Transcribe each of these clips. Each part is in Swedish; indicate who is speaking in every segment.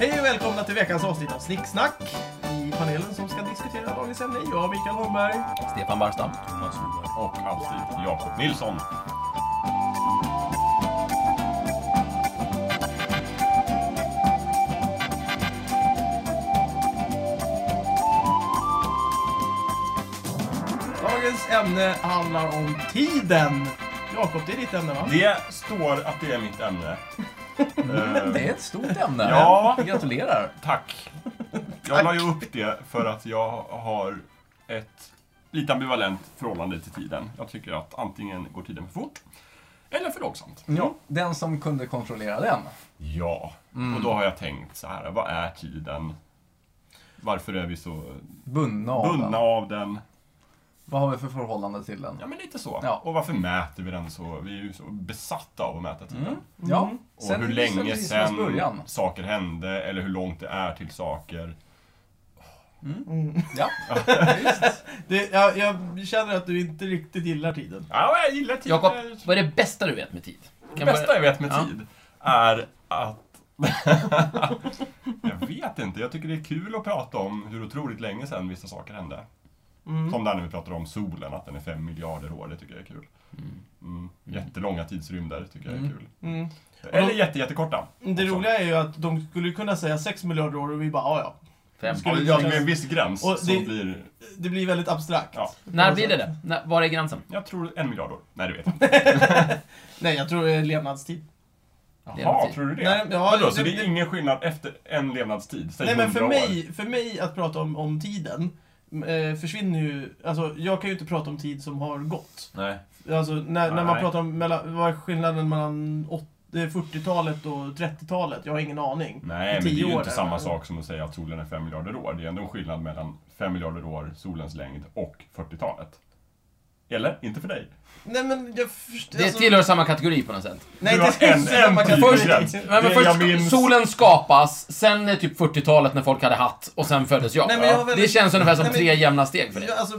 Speaker 1: Hej och välkomna till veckans avsnitt av Snicksnack. I panelen som ska diskutera dagens ämne är jag, Mikael Holmberg.
Speaker 2: Stefan Barstam.
Speaker 3: Jonas Rudberg och alltid Jakob Nilsson.
Speaker 1: Dagens ämne handlar om tiden. Jakob, det är ditt ämne va?
Speaker 3: Det står att det är mitt ämne. Eh,
Speaker 2: Det är ett stort ämne.
Speaker 3: Ja.
Speaker 2: Gratulerar.
Speaker 3: Tack. Jag la ju upp det för att jag har ett lite ambivalent förhållande till tiden. Jag tycker att antingen går tiden för fort eller för långsamt.
Speaker 2: Ja, den som kunde kontrollera den.
Speaker 3: Ja, och då har jag tänkt så här, vad är tiden? Varför är vi så
Speaker 2: Bundna av
Speaker 3: bundna
Speaker 2: den.
Speaker 3: av den?
Speaker 2: Vad har vi för förhållande till den?
Speaker 3: Ja, men lite så.
Speaker 2: Ja.
Speaker 3: Och varför mäter vi den så? Vi är ju så besatta av att mäta tiden.
Speaker 2: Ja.
Speaker 3: Och hur länge
Speaker 2: kristnas
Speaker 3: sen
Speaker 2: Början.
Speaker 3: saker hände eller hur långt det är till saker.
Speaker 2: Ja.
Speaker 1: Det, jag, jag känner att du inte riktigt gillar tiden.
Speaker 3: Ja, jag gillar tid.
Speaker 4: Jakob,
Speaker 3: Det
Speaker 4: vad är det bästa du vet med tid? Kan
Speaker 3: bästa
Speaker 4: bara-
Speaker 3: jag vet med
Speaker 4: Ja.
Speaker 3: tid är att... jag vet inte. Jag tycker det är kul att prata om hur otroligt länge sedan vissa saker hände. Som där när vi pratade om solen, att den är fem miljarder år. Det tycker jag är kul. Mm. Jättelånga tidsrymder tycker jag är kul.
Speaker 1: Mm.
Speaker 3: Eller jätte, jättekorta.
Speaker 1: Det roliga är ju att de skulle kunna säga 6 miljarder år och vi bara ja, ja.
Speaker 4: Fem.
Speaker 3: Ja, ja, med en viss gräns
Speaker 1: Och
Speaker 3: så
Speaker 1: det-
Speaker 3: blir...
Speaker 1: Det blir väldigt abstrakt.
Speaker 3: Ja.
Speaker 4: När blir det det? När, var är gränsen?
Speaker 3: Jag tror en miljard år. Nej, det vet jag inte.
Speaker 1: Nej, jag tror det är levnadstid.
Speaker 4: Det är
Speaker 3: Jaha,
Speaker 4: något
Speaker 3: tror du det?
Speaker 1: Nej, ja,
Speaker 3: Vadå, så
Speaker 1: det-
Speaker 3: det är ingen skillnad efter en levnadstid? Säg
Speaker 1: Nej, men för
Speaker 3: 100 år.
Speaker 1: mig, för mig att prata om, om tiden eh, försvinner ju... Alltså, jag kan ju inte prata om tid som har gått.
Speaker 3: Nej.
Speaker 1: Alltså när, när man
Speaker 3: Nej.
Speaker 1: pratar om mellan, vad är skillnaden mellan åt- eh, 40-talet och 30-talet? Jag har ingen aning.
Speaker 3: Nej,
Speaker 1: I
Speaker 3: men det är
Speaker 1: tio
Speaker 3: ju
Speaker 1: år
Speaker 3: inte
Speaker 1: där.
Speaker 3: samma sak som att säga att solen är 5 miljarder år. Det är ändå en skillnad mellan 5 miljarder år, solens längd och 40-talet. Eller? Inte för dig.
Speaker 1: Nej men jag förstår...
Speaker 4: Det tillhör samma kategori på något sätt.
Speaker 1: Nej,
Speaker 3: Du har
Speaker 1: Alltså- det är
Speaker 3: en-
Speaker 1: samma
Speaker 3: en
Speaker 1: kategori.
Speaker 3: tydlig gräns.
Speaker 4: Nej, men
Speaker 3: Det
Speaker 4: först,
Speaker 3: jag minns-
Speaker 4: Solen skapas, sen är typ 40-talet när folk hade hatt, och sen föddes jag.
Speaker 1: Nej, men jag har väldigt-
Speaker 4: Det känns ungefär som
Speaker 1: Nej, men-
Speaker 4: tre jämna steg för dig.
Speaker 1: Ja, Alltså,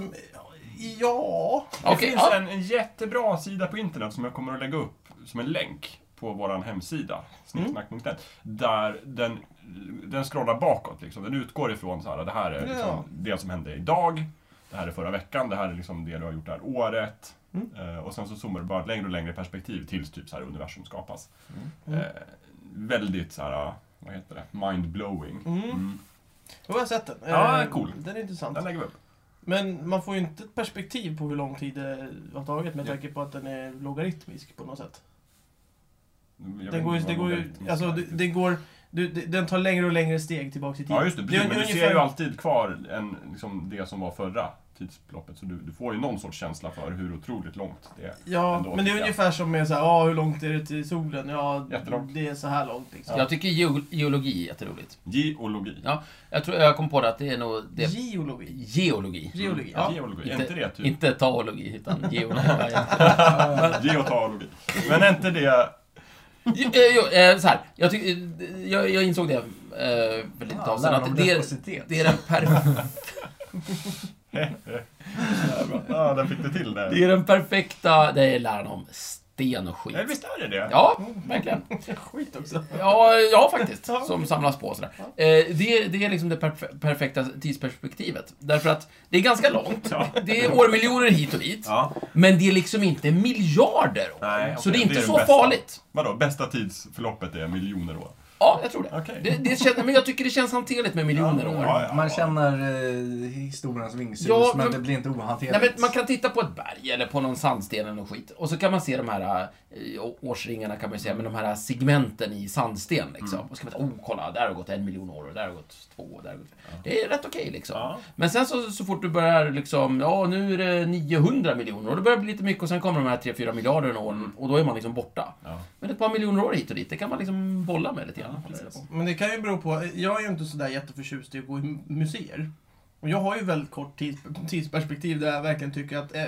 Speaker 1: ja...
Speaker 3: Det
Speaker 4: Okej,
Speaker 3: finns
Speaker 4: ja.
Speaker 3: en, en jättebra sida på internet som jag kommer att lägga upp som en länk på vår hemsida, snicksnack.net, där den, den scrollar bakåt. Liksom. Den utgår ifrån så här, det här är liksom
Speaker 1: Ja.
Speaker 3: det som hände idag, det här är förra veckan, det här är liksom det du har gjort det här året.
Speaker 1: Mm.
Speaker 3: Eh, och sen så zoomar du bara längre och längre perspektiv tills typ så här universum skapas.
Speaker 2: Mm.
Speaker 3: Eh, väldigt så här, vad heter det, mind-blowing. Mm.
Speaker 1: Jo, jag har sett den.
Speaker 3: Ja,
Speaker 1: Eh,
Speaker 3: cool.
Speaker 1: Den är intressant.
Speaker 3: Den lägger vi upp.
Speaker 1: Men man får ju inte ett perspektiv på hur lång tid det har tagit med tanke på att den är logaritmisk på något sätt.
Speaker 3: Jag
Speaker 1: Den
Speaker 3: vet
Speaker 1: går ju...
Speaker 3: inte
Speaker 1: Den
Speaker 3: vad
Speaker 1: går ju
Speaker 3: logaritm är.
Speaker 1: alltså, det- den går... Du, det- den tar längre och längre steg tillbaka i tiden.
Speaker 3: Ja, just det. Precis.
Speaker 1: är
Speaker 3: men du
Speaker 1: ungefär-
Speaker 3: ser ju alltid kvar en, liksom, det som var förra tidsförloppet. Så du, du får ju någon sorts känsla för hur otroligt långt det är.
Speaker 1: Ja, men
Speaker 3: ändå,
Speaker 1: det är
Speaker 3: tycker jag.
Speaker 1: ungefär som med så här, ja hur långt är det till solen? Ja,
Speaker 3: Jättelångt.
Speaker 1: det är så här långt liksom.
Speaker 4: Jag tycker geo- geologi är jätteroligt.
Speaker 3: Geologi.
Speaker 4: Ja, jag, tror, jag kom på det att det är nog... Det,
Speaker 1: Geologi.
Speaker 4: geologi.
Speaker 1: Geologi, ja.
Speaker 3: Geologi. Är inte det typ?
Speaker 4: Inte taologi, utan geologi.
Speaker 3: Geotalogi. Men är inte det...
Speaker 4: Jo, eh, jo, eh, så här. Jag, tyck, eh, jag, jag insåg det eh, för lite tag sedan,
Speaker 2: Lära om
Speaker 4: att det är,
Speaker 2: reciprocitet.
Speaker 4: det är den perfekta
Speaker 3: Ja, där fick du till det.
Speaker 4: Det är den perfekta, det är läran om sten och
Speaker 3: Nej,
Speaker 4: skit.
Speaker 3: visst är det det?
Speaker 4: Ja, verkligen.
Speaker 1: Skit också.
Speaker 4: Ja, ja faktiskt. Som samlas på och sådär. Eh, det, är- det är liksom det perf- perfekta tidsperspektivet. Därför att det är ganska långt.
Speaker 3: Ja.
Speaker 4: Det är årmiljoner hit och dit.
Speaker 3: Ja.
Speaker 4: Men det är liksom inte miljarder år.
Speaker 3: Nej, okej,
Speaker 4: Så det är inte
Speaker 3: den
Speaker 4: så
Speaker 3: bästa.
Speaker 4: farligt.
Speaker 3: Vadå, bästa tidsförloppet är miljoner år?
Speaker 4: Ja, jag tror det.
Speaker 3: Okej.
Speaker 4: det, det känns, men jag tycker det känns hanterligt med miljoner år.
Speaker 3: Ja, ja,
Speaker 2: Man
Speaker 3: ja.
Speaker 2: känner eh, historiens vingsus,
Speaker 4: Ja,
Speaker 2: men
Speaker 4: men-
Speaker 2: det blir inte
Speaker 4: Nej,
Speaker 2: ohanterligt.
Speaker 4: men man kan titta på ett berg eller på någon sandsten eller något skit. Och så kan man se de här eh, å- årsringarna kan man ju säga, men de här segmenten i sandsten liksom.
Speaker 3: Mm.
Speaker 4: Och så kan man säga, oh kolla, där har gått en miljon år och där har gått två och där har gått... Det är rätt okej liksom.
Speaker 3: Ja.
Speaker 4: Men sen så, så fort du börjar liksom, ja nu är det 900 miljoner och det börjar bli lite mycket och sen kommer de här 3-4 miljarderna åren och då är man liksom borta.
Speaker 3: Mm. Ja.
Speaker 4: Men ett par miljoner år hit och dit, det kan man liksom bolla med lite grann.
Speaker 1: Men det kan ju bero på, jag är ju inte sådär jätteförtjust i att gå i museer. Och jag har ju väldigt kort tids, tidsperspektiv där jag verkligen tycker att eh,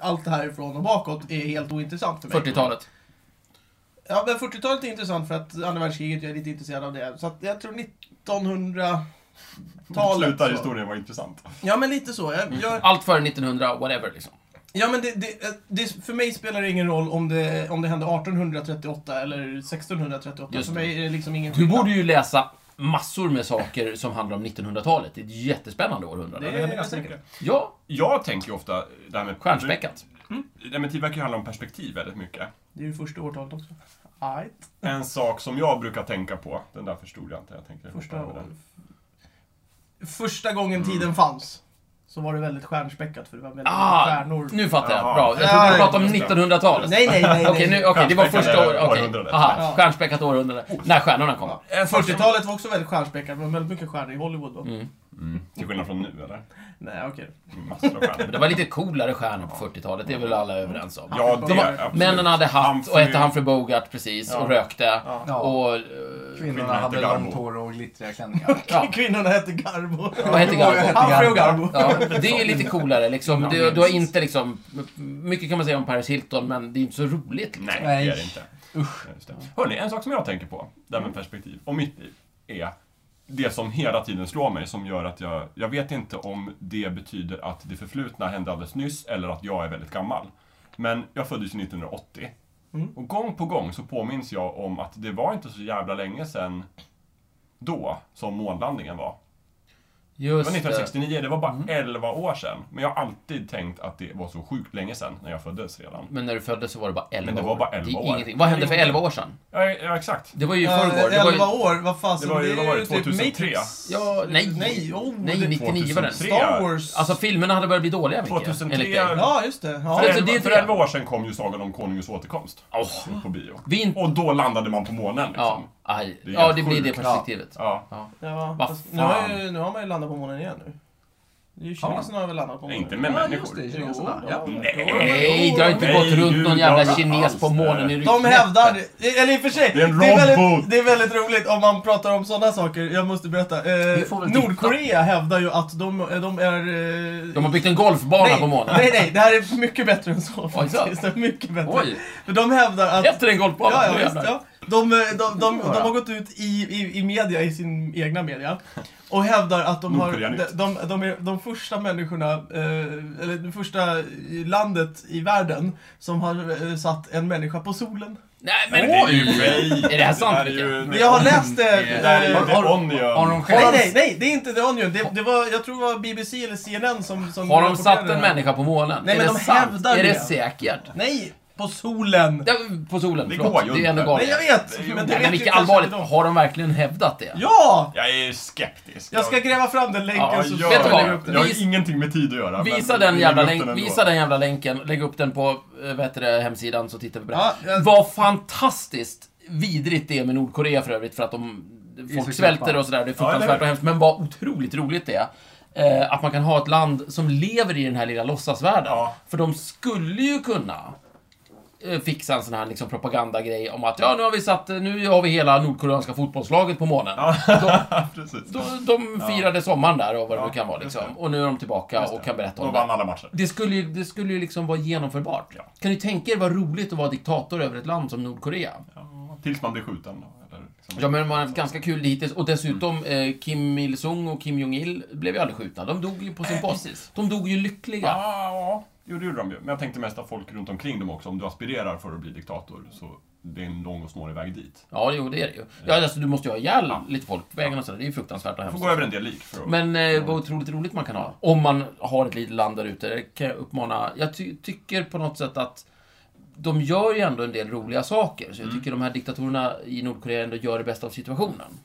Speaker 1: allt härifrån och bakåt är helt ointressant för mig.
Speaker 4: 40-talet.
Speaker 1: Ja, men 40-talet är intressant för att andra världskriget, jag är lite intresserad av det. Så att jag tror 1900-talet.
Speaker 3: Slutar
Speaker 1: så.
Speaker 3: historien vara intressant.
Speaker 1: Ja, men lite så. Jag, jag,
Speaker 4: Allt före 1900, whatever liksom.
Speaker 1: Ja, men det, det, det, för mig spelar det ingen roll om det, om det hände 1838 eller 1638.
Speaker 4: Just
Speaker 1: för
Speaker 4: det.
Speaker 1: mig är det liksom ingen
Speaker 4: Du borde ju läsa massor med saker som handlar om 1900-talet. Det är ett jättespännande århundrade.
Speaker 1: Det är
Speaker 3: Det händer
Speaker 1: jag
Speaker 3: ganska
Speaker 1: säker.
Speaker 3: mycket.
Speaker 4: Ja,
Speaker 3: Jag tänker ju ofta det här med... Mm.
Speaker 4: stjärnspäckat.
Speaker 3: Nej, men tid verkar ju handla om perspektiv väldigt mycket.
Speaker 1: Det är ju första årtalet också. Ajt.
Speaker 3: En sak som jag brukar tänka på, den där förstod jag inte, jag tänker
Speaker 1: Första,
Speaker 3: hoppa över den.
Speaker 1: första gången
Speaker 4: Mm.
Speaker 1: tiden fanns så var det väldigt stjärnspäckat för det var väldigt
Speaker 4: Ah,
Speaker 1: många stjärnor.
Speaker 4: Nu fattar jag.
Speaker 3: Jaha.
Speaker 4: Bra. Jag trodde du
Speaker 1: Ja,
Speaker 4: pratade om
Speaker 3: just det.
Speaker 4: 1900-talet.
Speaker 1: Nej, nej, nej.
Speaker 4: Okej, nu,
Speaker 1: nej.
Speaker 4: okej, det var första
Speaker 3: Stjärnspäckade
Speaker 4: året. okej.
Speaker 3: århundradet.
Speaker 4: Aha,
Speaker 1: Ja.
Speaker 4: Stjärnspäckat århundrade. När stjärnorna kom.
Speaker 1: Ja. 40-talet var också väldigt stjärnspäckat, men väldigt mycket stjärnor i Hollywood då.
Speaker 4: Mm.
Speaker 3: Till skillnad från nu, eller?
Speaker 1: Nej, okej.
Speaker 3: Massor av stjärnor.
Speaker 4: Men det var lite coolare stjärnor på 40-talet, det är väl alla överens om.
Speaker 3: Ja,
Speaker 1: De
Speaker 3: det
Speaker 1: var-
Speaker 3: absolut.
Speaker 4: Männen hade hatt och
Speaker 3: Humphrey-
Speaker 4: hette Humphrey Bogart precis
Speaker 1: Ja.
Speaker 4: och rökte.
Speaker 1: Ja.
Speaker 2: Ja.
Speaker 4: Och... eh,
Speaker 2: Kvinnorna
Speaker 3: Kvinnorna
Speaker 2: hade
Speaker 3: heter Garbo.
Speaker 2: långt hår och glittriga klänningar.
Speaker 4: Ja.
Speaker 1: Kvinnorna hette Garbo.
Speaker 4: Vad hette
Speaker 2: Garbo?
Speaker 4: Garbo?
Speaker 1: Humphrey och Garbo.
Speaker 4: Ja, det är lite coolare liksom.
Speaker 3: Ja,
Speaker 4: Du,
Speaker 3: minst.
Speaker 4: du har inte liksom... Mycket kan man säga om Paris Hilton, men det är inte så roligt. Liksom.
Speaker 3: Nej,
Speaker 2: Nej.
Speaker 3: det är det inte. Usch. Hörrni, en sak som jag tänker på, det här med perspektiv, och mitt liv, är det som hela tiden slår mig, som gör att jag... Jag vet inte om det betyder att det förflutna hände alldeles nyss, eller att jag är väldigt gammal. Men jag föddes ju 1980.
Speaker 1: Mm.
Speaker 3: Och gång på gång så påminns jag om att det var inte så jävla länge sedan då som månlandningen var. Det
Speaker 4: Just eh,
Speaker 3: var
Speaker 4: det. Mm.
Speaker 3: 1969, det var bara 11 år sedan. Men jag har alltid tänkt att det var så sjukt länge sedan, när jag föddes redan.
Speaker 4: Men när du föddes så var det bara 11
Speaker 3: Men det
Speaker 4: år.
Speaker 3: var bara 11
Speaker 4: det är
Speaker 3: år.
Speaker 4: ingenting. Vad hände för 11 år sedan?
Speaker 3: Ja, ja exakt.
Speaker 4: Det var ju i
Speaker 1: Ja,
Speaker 4: förrgår. Det var ju...
Speaker 1: 11 år, vad fasen.
Speaker 3: Det var ju- vad var det,
Speaker 1: typ
Speaker 3: 2003?
Speaker 1: Matrix.
Speaker 4: Ja, nej.
Speaker 1: Nej, oh,
Speaker 4: Nej,
Speaker 1: det-
Speaker 4: 99 var den.
Speaker 3: 2003.
Speaker 1: Star Wars.
Speaker 4: Alltså filmerna hade börjat bli dåliga, Micke.
Speaker 3: 2003.
Speaker 4: enligt dig.
Speaker 1: ja, just det. Ja.
Speaker 3: För,
Speaker 4: Alltså,
Speaker 3: elva-
Speaker 4: det är
Speaker 3: för
Speaker 4: det.
Speaker 3: 11 år sedan kom ju Sagan om Konungens återkomst
Speaker 4: Åh,
Speaker 3: på bio.
Speaker 4: vi är inte...
Speaker 3: Och då landade man på månen
Speaker 4: Ja,
Speaker 3: liksom.
Speaker 4: aj.
Speaker 3: Det är
Speaker 4: ja, det
Speaker 3: sjukt.
Speaker 4: blir det perspektivet.
Speaker 3: Ja.
Speaker 1: Ja,
Speaker 4: Vad
Speaker 1: fast
Speaker 4: fan.
Speaker 1: nu, har ju, nu har man ju landat på månen igen nu. Det är ju kineserna har väl landat på
Speaker 3: Nej,
Speaker 1: månen.
Speaker 3: Inte med
Speaker 2: Ja, just
Speaker 3: människor.
Speaker 2: det.
Speaker 1: Jo,
Speaker 2: Kineserna, ja.
Speaker 1: de-
Speaker 4: Nej, det har inte
Speaker 3: Nej,
Speaker 4: gått runt
Speaker 3: gud,
Speaker 4: någon
Speaker 3: jag
Speaker 4: jävla
Speaker 3: vet
Speaker 4: kines
Speaker 3: alls
Speaker 4: på
Speaker 3: det.
Speaker 4: månen i
Speaker 1: De
Speaker 4: knäppen.
Speaker 1: hävdar, eller i och för sig,
Speaker 3: Det är en
Speaker 1: väldigt,
Speaker 3: robot.
Speaker 1: det är väldigt roligt om man pratar om sådana saker. Jag måste berätta. Eh,
Speaker 4: Vi får väl titta.
Speaker 1: Nordkorea hävdar ju att de, de är... Eh,
Speaker 4: De har byggt en golfbana
Speaker 1: nej,
Speaker 4: på månen.
Speaker 1: Nej, nej, det här är mycket bättre än så
Speaker 4: Oj, så.
Speaker 1: faktiskt. Det är mycket bättre.
Speaker 4: Oj,
Speaker 1: För de hävdar att...
Speaker 4: efter en golfbana.
Speaker 1: Ja,
Speaker 4: nu
Speaker 1: ja, visst,
Speaker 4: jävlar.
Speaker 1: ja. De, eh, de, de, de, de har gått ut i, i, i media, i sin egna media, och hävdar att de, har,
Speaker 3: Nordkorea
Speaker 1: de,
Speaker 3: nytt.
Speaker 1: de, de är de första människorna, eh, eller det första landet i världen som har eh, satt en människa på solen.
Speaker 4: Nej,
Speaker 3: Men
Speaker 4: men
Speaker 3: det är ju
Speaker 4: oj!
Speaker 3: fake.
Speaker 4: Är det här sant,
Speaker 3: är ju-
Speaker 4: Micke?
Speaker 1: Men jag har läst det.
Speaker 3: Det där är
Speaker 2: Har-
Speaker 3: ju The
Speaker 2: har-
Speaker 3: Onion.
Speaker 2: Har de
Speaker 1: Nej,
Speaker 2: själv...
Speaker 1: nej, nej, det är inte The Onion. Det, det var, jag tror det var BBC eller CNN som... som
Speaker 4: Har de
Speaker 1: rapporterade
Speaker 4: satt
Speaker 1: det
Speaker 4: en
Speaker 1: här.
Speaker 4: människa på månen?
Speaker 1: Nej,
Speaker 4: är
Speaker 1: men
Speaker 4: det
Speaker 1: de
Speaker 4: sant?
Speaker 1: hävdar
Speaker 4: Är det
Speaker 1: det.
Speaker 4: säkert?
Speaker 1: Nej, på solen!
Speaker 4: Ja, på solen,
Speaker 3: Det
Speaker 4: förlåt.
Speaker 3: går ju
Speaker 4: Det är ändå
Speaker 3: inte.
Speaker 1: Nej,
Speaker 4: galet.
Speaker 1: jag vet!
Speaker 3: Nej,
Speaker 1: Men det
Speaker 4: Nej,
Speaker 1: vet
Speaker 4: men
Speaker 1: ju
Speaker 4: vilket
Speaker 1: kanske
Speaker 4: allvarligt.
Speaker 1: inte de.
Speaker 4: Har de verkligen hävdat det?
Speaker 1: Ja!
Speaker 3: Jag är skeptisk.
Speaker 1: Jag ska gräva fram den länken
Speaker 3: Ja,
Speaker 1: så
Speaker 3: gör
Speaker 4: Vet du
Speaker 3: det.
Speaker 4: vad?
Speaker 1: lägger upp den.
Speaker 3: Jag
Speaker 4: Vis-
Speaker 3: har ingenting med tid att göra. men
Speaker 4: Visa
Speaker 3: vi
Speaker 4: den, jävla
Speaker 3: lägger upp
Speaker 4: länk,
Speaker 3: ändå.
Speaker 4: visa den jävla länken, lägg upp den på eh, vad heter det, hemsidan så tittar vi på det.
Speaker 1: Ja, jag-
Speaker 4: Vad fantastiskt vidrigt det är med Nordkorea för övrigt, för att de,
Speaker 2: är så
Speaker 4: folk
Speaker 2: knäppa.
Speaker 4: svälter och sådär, och det är
Speaker 3: eller
Speaker 4: fruktansvärt
Speaker 3: hur?
Speaker 4: och hemskt, men vad otroligt roligt det är. Eh, att man kan ha ett land som lever i den här lilla låtsasvärlden.
Speaker 3: Ja.
Speaker 4: För de skulle ju kunna eh, fixa en sån här liksom propagandagrej om att ja, nu har vi satt, nu har vi hela Nordkoreanska fotbollslaget på månen.
Speaker 3: Ja, precis.
Speaker 4: De, de firade sommaren där och vad det
Speaker 3: Ja,
Speaker 4: nu kan vara
Speaker 3: just
Speaker 4: liksom.
Speaker 3: det.
Speaker 4: Och nu är de tillbaka och kan berätta om
Speaker 3: De
Speaker 4: det.
Speaker 3: vann alla matcher.
Speaker 4: Det skulle, ju, det skulle ju liksom vara genomförbart.
Speaker 3: Ja.
Speaker 4: Kan ni tänka er vad roligt att vara diktator över ett land som Nordkorea?
Speaker 3: Ja, Tills man blir skjuten. då, Eller liksom.
Speaker 4: Ja, men det var ganska kul hittills. Och dessutom,
Speaker 3: Mm.
Speaker 4: eh, Kim Il-Sung och Kim Jong-Il blev ju aldrig skjutna. De dog ju på sin post. De dog ju lyckliga.
Speaker 3: Ja, Ah, ja. Jo, det gjorde de ju. Men jag tänkte mest att folk runt omkring dem också. Om du aspirerar för att bli diktator så det är en lång och snårig väg dit.
Speaker 4: Ja, jo, det är det ju. Ja, alltså, du måste ju ha ihjäl lite folk på vägen och sådär. Det är ju fruktansvärt och
Speaker 3: Du får
Speaker 4: hemskt.
Speaker 3: gå över en del lik för att...
Speaker 4: Men eh, vad otroligt roligt man kan ha. Om man har ett litet land där ute. Det kan jag uppmana. Jag ty tycker på något sätt att de gör ju ändå en del roliga saker. Så
Speaker 3: Mm.
Speaker 4: jag tycker de här diktatorerna i Nordkorea ändå gör det bästa av situationen.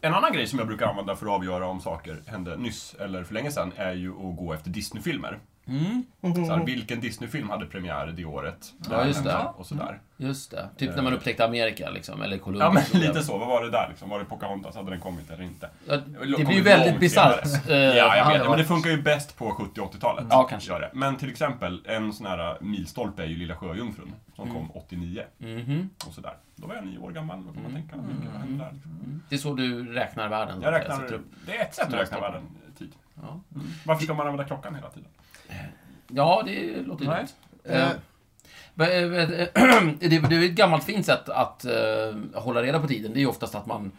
Speaker 3: En annan grej som jag brukar använda för att avgöra om saker hände nyss eller för länge sedan är ju att gå efter Disney-filmer.
Speaker 4: Mm.
Speaker 3: Så här, vilken Disney-film hade premiär det året?
Speaker 4: Ja,
Speaker 3: Där
Speaker 4: just det.
Speaker 3: hände Och sådär.
Speaker 4: Just det. Typ när man upptäckte Amerika, liksom, eller Columbus.
Speaker 3: Eh. Ja, men lite så. Vad var det där liksom? Var det Pocahontas? Hade den kommit eller inte?
Speaker 4: Ja, Det blir ju
Speaker 3: Kommit
Speaker 4: väldigt
Speaker 3: långt
Speaker 4: bisarrt.
Speaker 3: senare. Ja, jag
Speaker 4: Eh,
Speaker 3: vet det. Men det funkar ju bäst på 70 och 80-talet.
Speaker 4: Ja, kanske.
Speaker 3: Gör det. Men till exempel, en sån här eh, milstolpe är ju Lilla Sjöjungfrun som
Speaker 4: Mm.
Speaker 3: kom 89.
Speaker 4: mhm.
Speaker 3: Och sådär. Då var jag nio år gammal. Då kan
Speaker 4: Mm.
Speaker 3: man tänka, mycket vad hände där? liksom?
Speaker 4: Det är så du räknar världen?
Speaker 3: Jag
Speaker 4: sätter
Speaker 3: räknar,
Speaker 4: upp.
Speaker 3: det är ett sätt att räkna
Speaker 4: Milstolpe.
Speaker 3: världen i tid.
Speaker 4: Ja.
Speaker 3: Varför ska man använda klockan hela tiden?
Speaker 4: ja, det låter ju
Speaker 2: Nej.
Speaker 4: dumt.
Speaker 1: Eh,
Speaker 4: Eh, men, eh, men, eh, Det det är ju ett gammalt fint sätt att eh, hålla reda på tiden. Det är ju oftast att man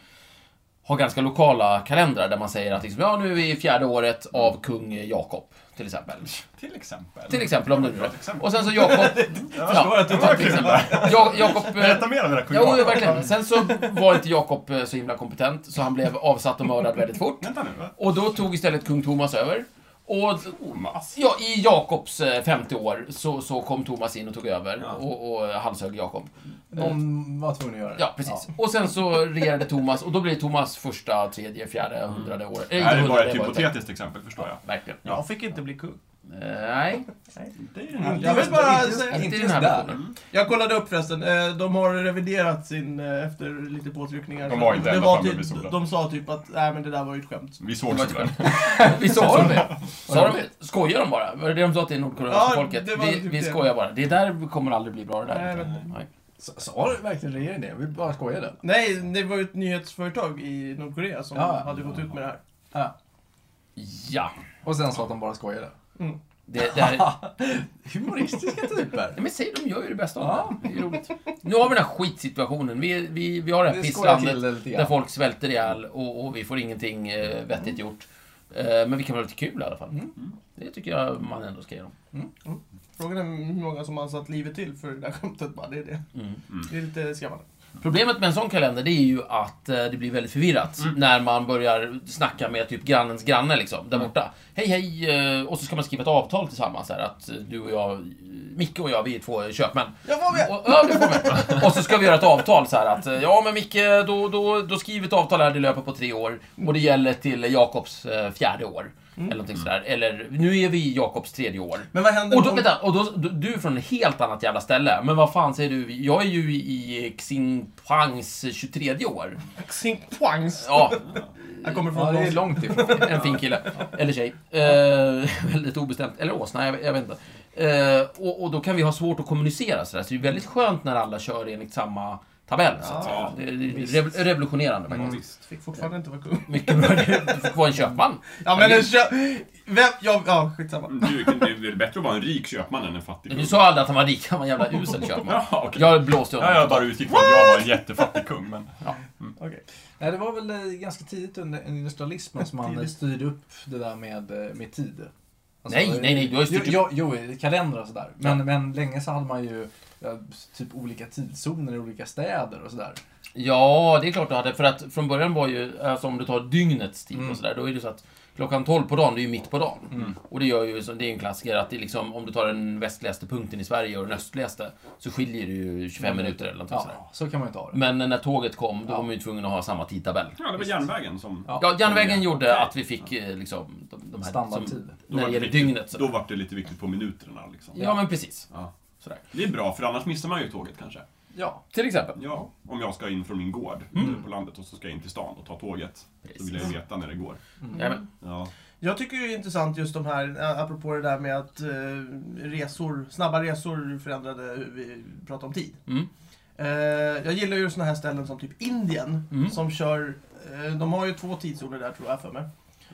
Speaker 4: har ganska lokala kalendrar där man säger att liksom, ja, nu är vi i fjärde året av kung Jakob. till till exempel.
Speaker 3: Till exempel.
Speaker 4: Till exempel om du
Speaker 3: Bra exempel.
Speaker 4: Och sen så Jakob...
Speaker 3: Jag
Speaker 4: Ja,
Speaker 3: förstår att du
Speaker 4: det var
Speaker 3: tar
Speaker 4: kul
Speaker 3: till
Speaker 4: där.
Speaker 3: exempel.
Speaker 4: Ja, Jakob... eh,
Speaker 3: Berätta mer om dina
Speaker 4: Jo,
Speaker 3: kungabarn.
Speaker 4: jo, verkligen. Sen så var inte Jakob eh, så himla kompetent, så han blev avsatt och mördad väldigt fort.
Speaker 3: Vänta nu, va? Oh,
Speaker 4: Och då tog istället kung Thomas över. Och
Speaker 3: Thomas.
Speaker 4: ja, i Jakobs eh, 50 år så, så kom Thomas in och tog över
Speaker 3: Ja.
Speaker 4: och, och halshögg Jakob.
Speaker 2: De var tvungna att göra det.
Speaker 4: Ja, precis. Och sen så regerade Thomas och då blir Thomas första, tredje, fjärde, hundrade året.
Speaker 3: Det
Speaker 4: Nej,
Speaker 3: här är bara
Speaker 4: hundrade,
Speaker 3: ett
Speaker 4: det var inte.
Speaker 3: hypotetiskt exempel, förstår jag.
Speaker 4: Verkligen.
Speaker 1: Jag fick inte bli kung.
Speaker 4: Eh, Nej,
Speaker 3: Det är den
Speaker 1: Mm.
Speaker 3: här
Speaker 1: Jag
Speaker 3: lilla...
Speaker 1: vill bara
Speaker 2: inte-
Speaker 1: säga...
Speaker 4: inte i
Speaker 2: just
Speaker 4: den här
Speaker 2: där.
Speaker 4: versionen.
Speaker 1: Jag kollade upp förresten, eh, de har reviderat sin eh, efter lite påtryckningar.
Speaker 3: De var inte
Speaker 1: det
Speaker 3: ända
Speaker 1: var
Speaker 3: framme
Speaker 1: typ,
Speaker 3: vid solen.
Speaker 1: De sa typ att nej men det där var ju ett skämt.
Speaker 3: Vi såg
Speaker 4: Det var
Speaker 3: solen.
Speaker 4: Vi sa de det? Sa de det? Skojar de bara? Var det det de sa till nordkoreanska
Speaker 1: Ja,
Speaker 4: folket?
Speaker 1: det var
Speaker 4: Vi,
Speaker 1: typ
Speaker 4: vi
Speaker 1: det.
Speaker 4: skojar bara. Det där kommer aldrig bli bra det
Speaker 1: Nej,
Speaker 4: där.
Speaker 1: jag vet inte.
Speaker 4: Nej.
Speaker 2: Sa- Sa du verkligen regeringen det? Vi bara skojade.
Speaker 1: Nej, det var ju ett nyhetsföretag i Nordkorea som
Speaker 2: Ja.
Speaker 1: hade gått ut med det här.
Speaker 2: Ja.
Speaker 4: Ja.
Speaker 2: Och sen sa att de bara skojade.
Speaker 4: Det, det här, nej,
Speaker 2: Humoristiska typer.
Speaker 4: men säg, de gör ju det bästa av
Speaker 2: Ja.
Speaker 4: det. Det är roligt. Nu har vi den här skitsituationen. Vi, vi, vi har det här
Speaker 2: Vi skojar
Speaker 4: pisslandet
Speaker 2: till det lite
Speaker 4: där
Speaker 2: grann.
Speaker 4: folk svälter ihjäl och, och vi får ingenting eh, vettigt gjort. Eh, men vi kan väl ha lite kul i alla fall.
Speaker 2: Mm.
Speaker 4: Det tycker jag man ändå ska göra.
Speaker 1: Frågan är hur många som har satt livet till för det där skämtet bara. Det är det.
Speaker 4: Mm.
Speaker 1: Det är lite skrämmande.
Speaker 4: Problemet med en sån kalender det är ju att eh, det blir väldigt förvirrat
Speaker 2: Mm.
Speaker 4: när man börjar snacka med typ grannens granne liksom,
Speaker 2: Mm.
Speaker 4: där borta. Hej hej! eh, Och så ska man skriva ett avtal tillsammans här att eh, du och jag, eh, Micke och jag, vi är två köpmän.
Speaker 1: Jag var med!
Speaker 4: Och, ja, det får vi. och så ska vi göra ett avtal så här att eh, ja men Micke, då, då, då skriver vi ett avtal här, det löper på tre år och det gäller till Jakobs eh, fjärde år.
Speaker 1: Mm.
Speaker 4: Eller någonting sådär. Eller nu är vi i Jakobs tredje år.
Speaker 1: Men vad händer
Speaker 4: Och då,
Speaker 1: om-
Speaker 4: vänta, och då, du- du är från ett helt annat jävla ställe. Men vad fan säger du? Jag är ju i Xinjiangs 23 år.
Speaker 1: Xinjiangs!
Speaker 4: Ja,
Speaker 1: Jag kommer
Speaker 2: Ja,
Speaker 1: från
Speaker 2: det är
Speaker 1: Los-
Speaker 2: långt ifrån.
Speaker 4: en fin kille. Eller tjej. Eh, väldigt obestämt. Eller åsna, jag, jag vet inte. Eh, och, och då kan vi ha svårt att kommunicera sådär. Så det är väldigt skönt när alla kör enligt samma tabell. Så att säga.
Speaker 1: Ja,
Speaker 4: Det, det är rev- revolutionerande
Speaker 3: Mm.
Speaker 4: faktiskt.
Speaker 1: Fick fortfarande inte vara kung.
Speaker 4: Mycket bra. Du får vara en köpman.
Speaker 1: Ja men en kö... Vem? Ja, ja skitsamma.
Speaker 3: Du, det är väl bättre att vara en rik köpman än en fattig
Speaker 4: Du
Speaker 3: kung?
Speaker 4: sa aldrig att han var rik. Han var en jävla usel köpman.
Speaker 3: Ja, okej.
Speaker 4: Jag blåste honom.
Speaker 3: Ja, jag bara utgick från att jag var en jättefattig kung, men...
Speaker 1: Okej.
Speaker 2: Nej, det var väl eh, ganska tidigt under industrialismen som man eh,
Speaker 1: Tidigt.
Speaker 2: styrde upp det där med, eh, med tid. Alltså,
Speaker 4: Nej, nej, nej, du har ju styrt
Speaker 2: jo, jo, jo, kalendrar och sådär. Men, men länge så hade man ju ja, typ olika tidszoner i olika städer och sådär.
Speaker 4: Ja, det är klart du hade. För att från början var ju, alltså om du tar dygnets tid och sådär, då är det så att klockan 12 på dagen, det är ju mitt på dagen. Och det gör ju, så det är ju en klassiker, att det är liksom, om du tar den västligaste punkten i Sverige och den östligaste, så skiljer det ju 25 minuter eller någonting sådär.
Speaker 2: Ja, så kan man ju ta det.
Speaker 4: Men när tåget kom, då var man ju tvungen att ha samma tidtabell.
Speaker 3: Ja, det var järnvägen som...
Speaker 2: Ja.
Speaker 4: Ja, järnvägen gjorde att vi fick eh, liksom de, de här...
Speaker 2: Standardtid.
Speaker 4: Som, när
Speaker 3: var
Speaker 4: det gäller
Speaker 3: viktigt-
Speaker 4: dygnet.
Speaker 3: Då
Speaker 4: Så.
Speaker 3: var det lite viktigt på minuterna, liksom.
Speaker 4: Ja, men precis.
Speaker 3: Ja.
Speaker 4: Sådär.
Speaker 3: Det är bra, för annars missar man ju tåget kanske.
Speaker 2: Ja,
Speaker 4: Till exempel.
Speaker 3: Ja, om jag ska in från min gård
Speaker 1: Mm.
Speaker 3: ute på landet och så ska jag in till stan och ta tåget. Då vill jag ju veta när det går.
Speaker 4: Jajamän.
Speaker 3: Ja.
Speaker 1: Jag tycker ju det är intressant just de här, ä, apropå det där med att eh, resor, snabba resor förändrade hur vi pratar om tid.
Speaker 4: Mm.
Speaker 1: Eh, jag gillar ju såna här ställen som typ Indien,
Speaker 4: Mm.
Speaker 1: som kör, eh, de har ju två tidszoner där tror jag för mig.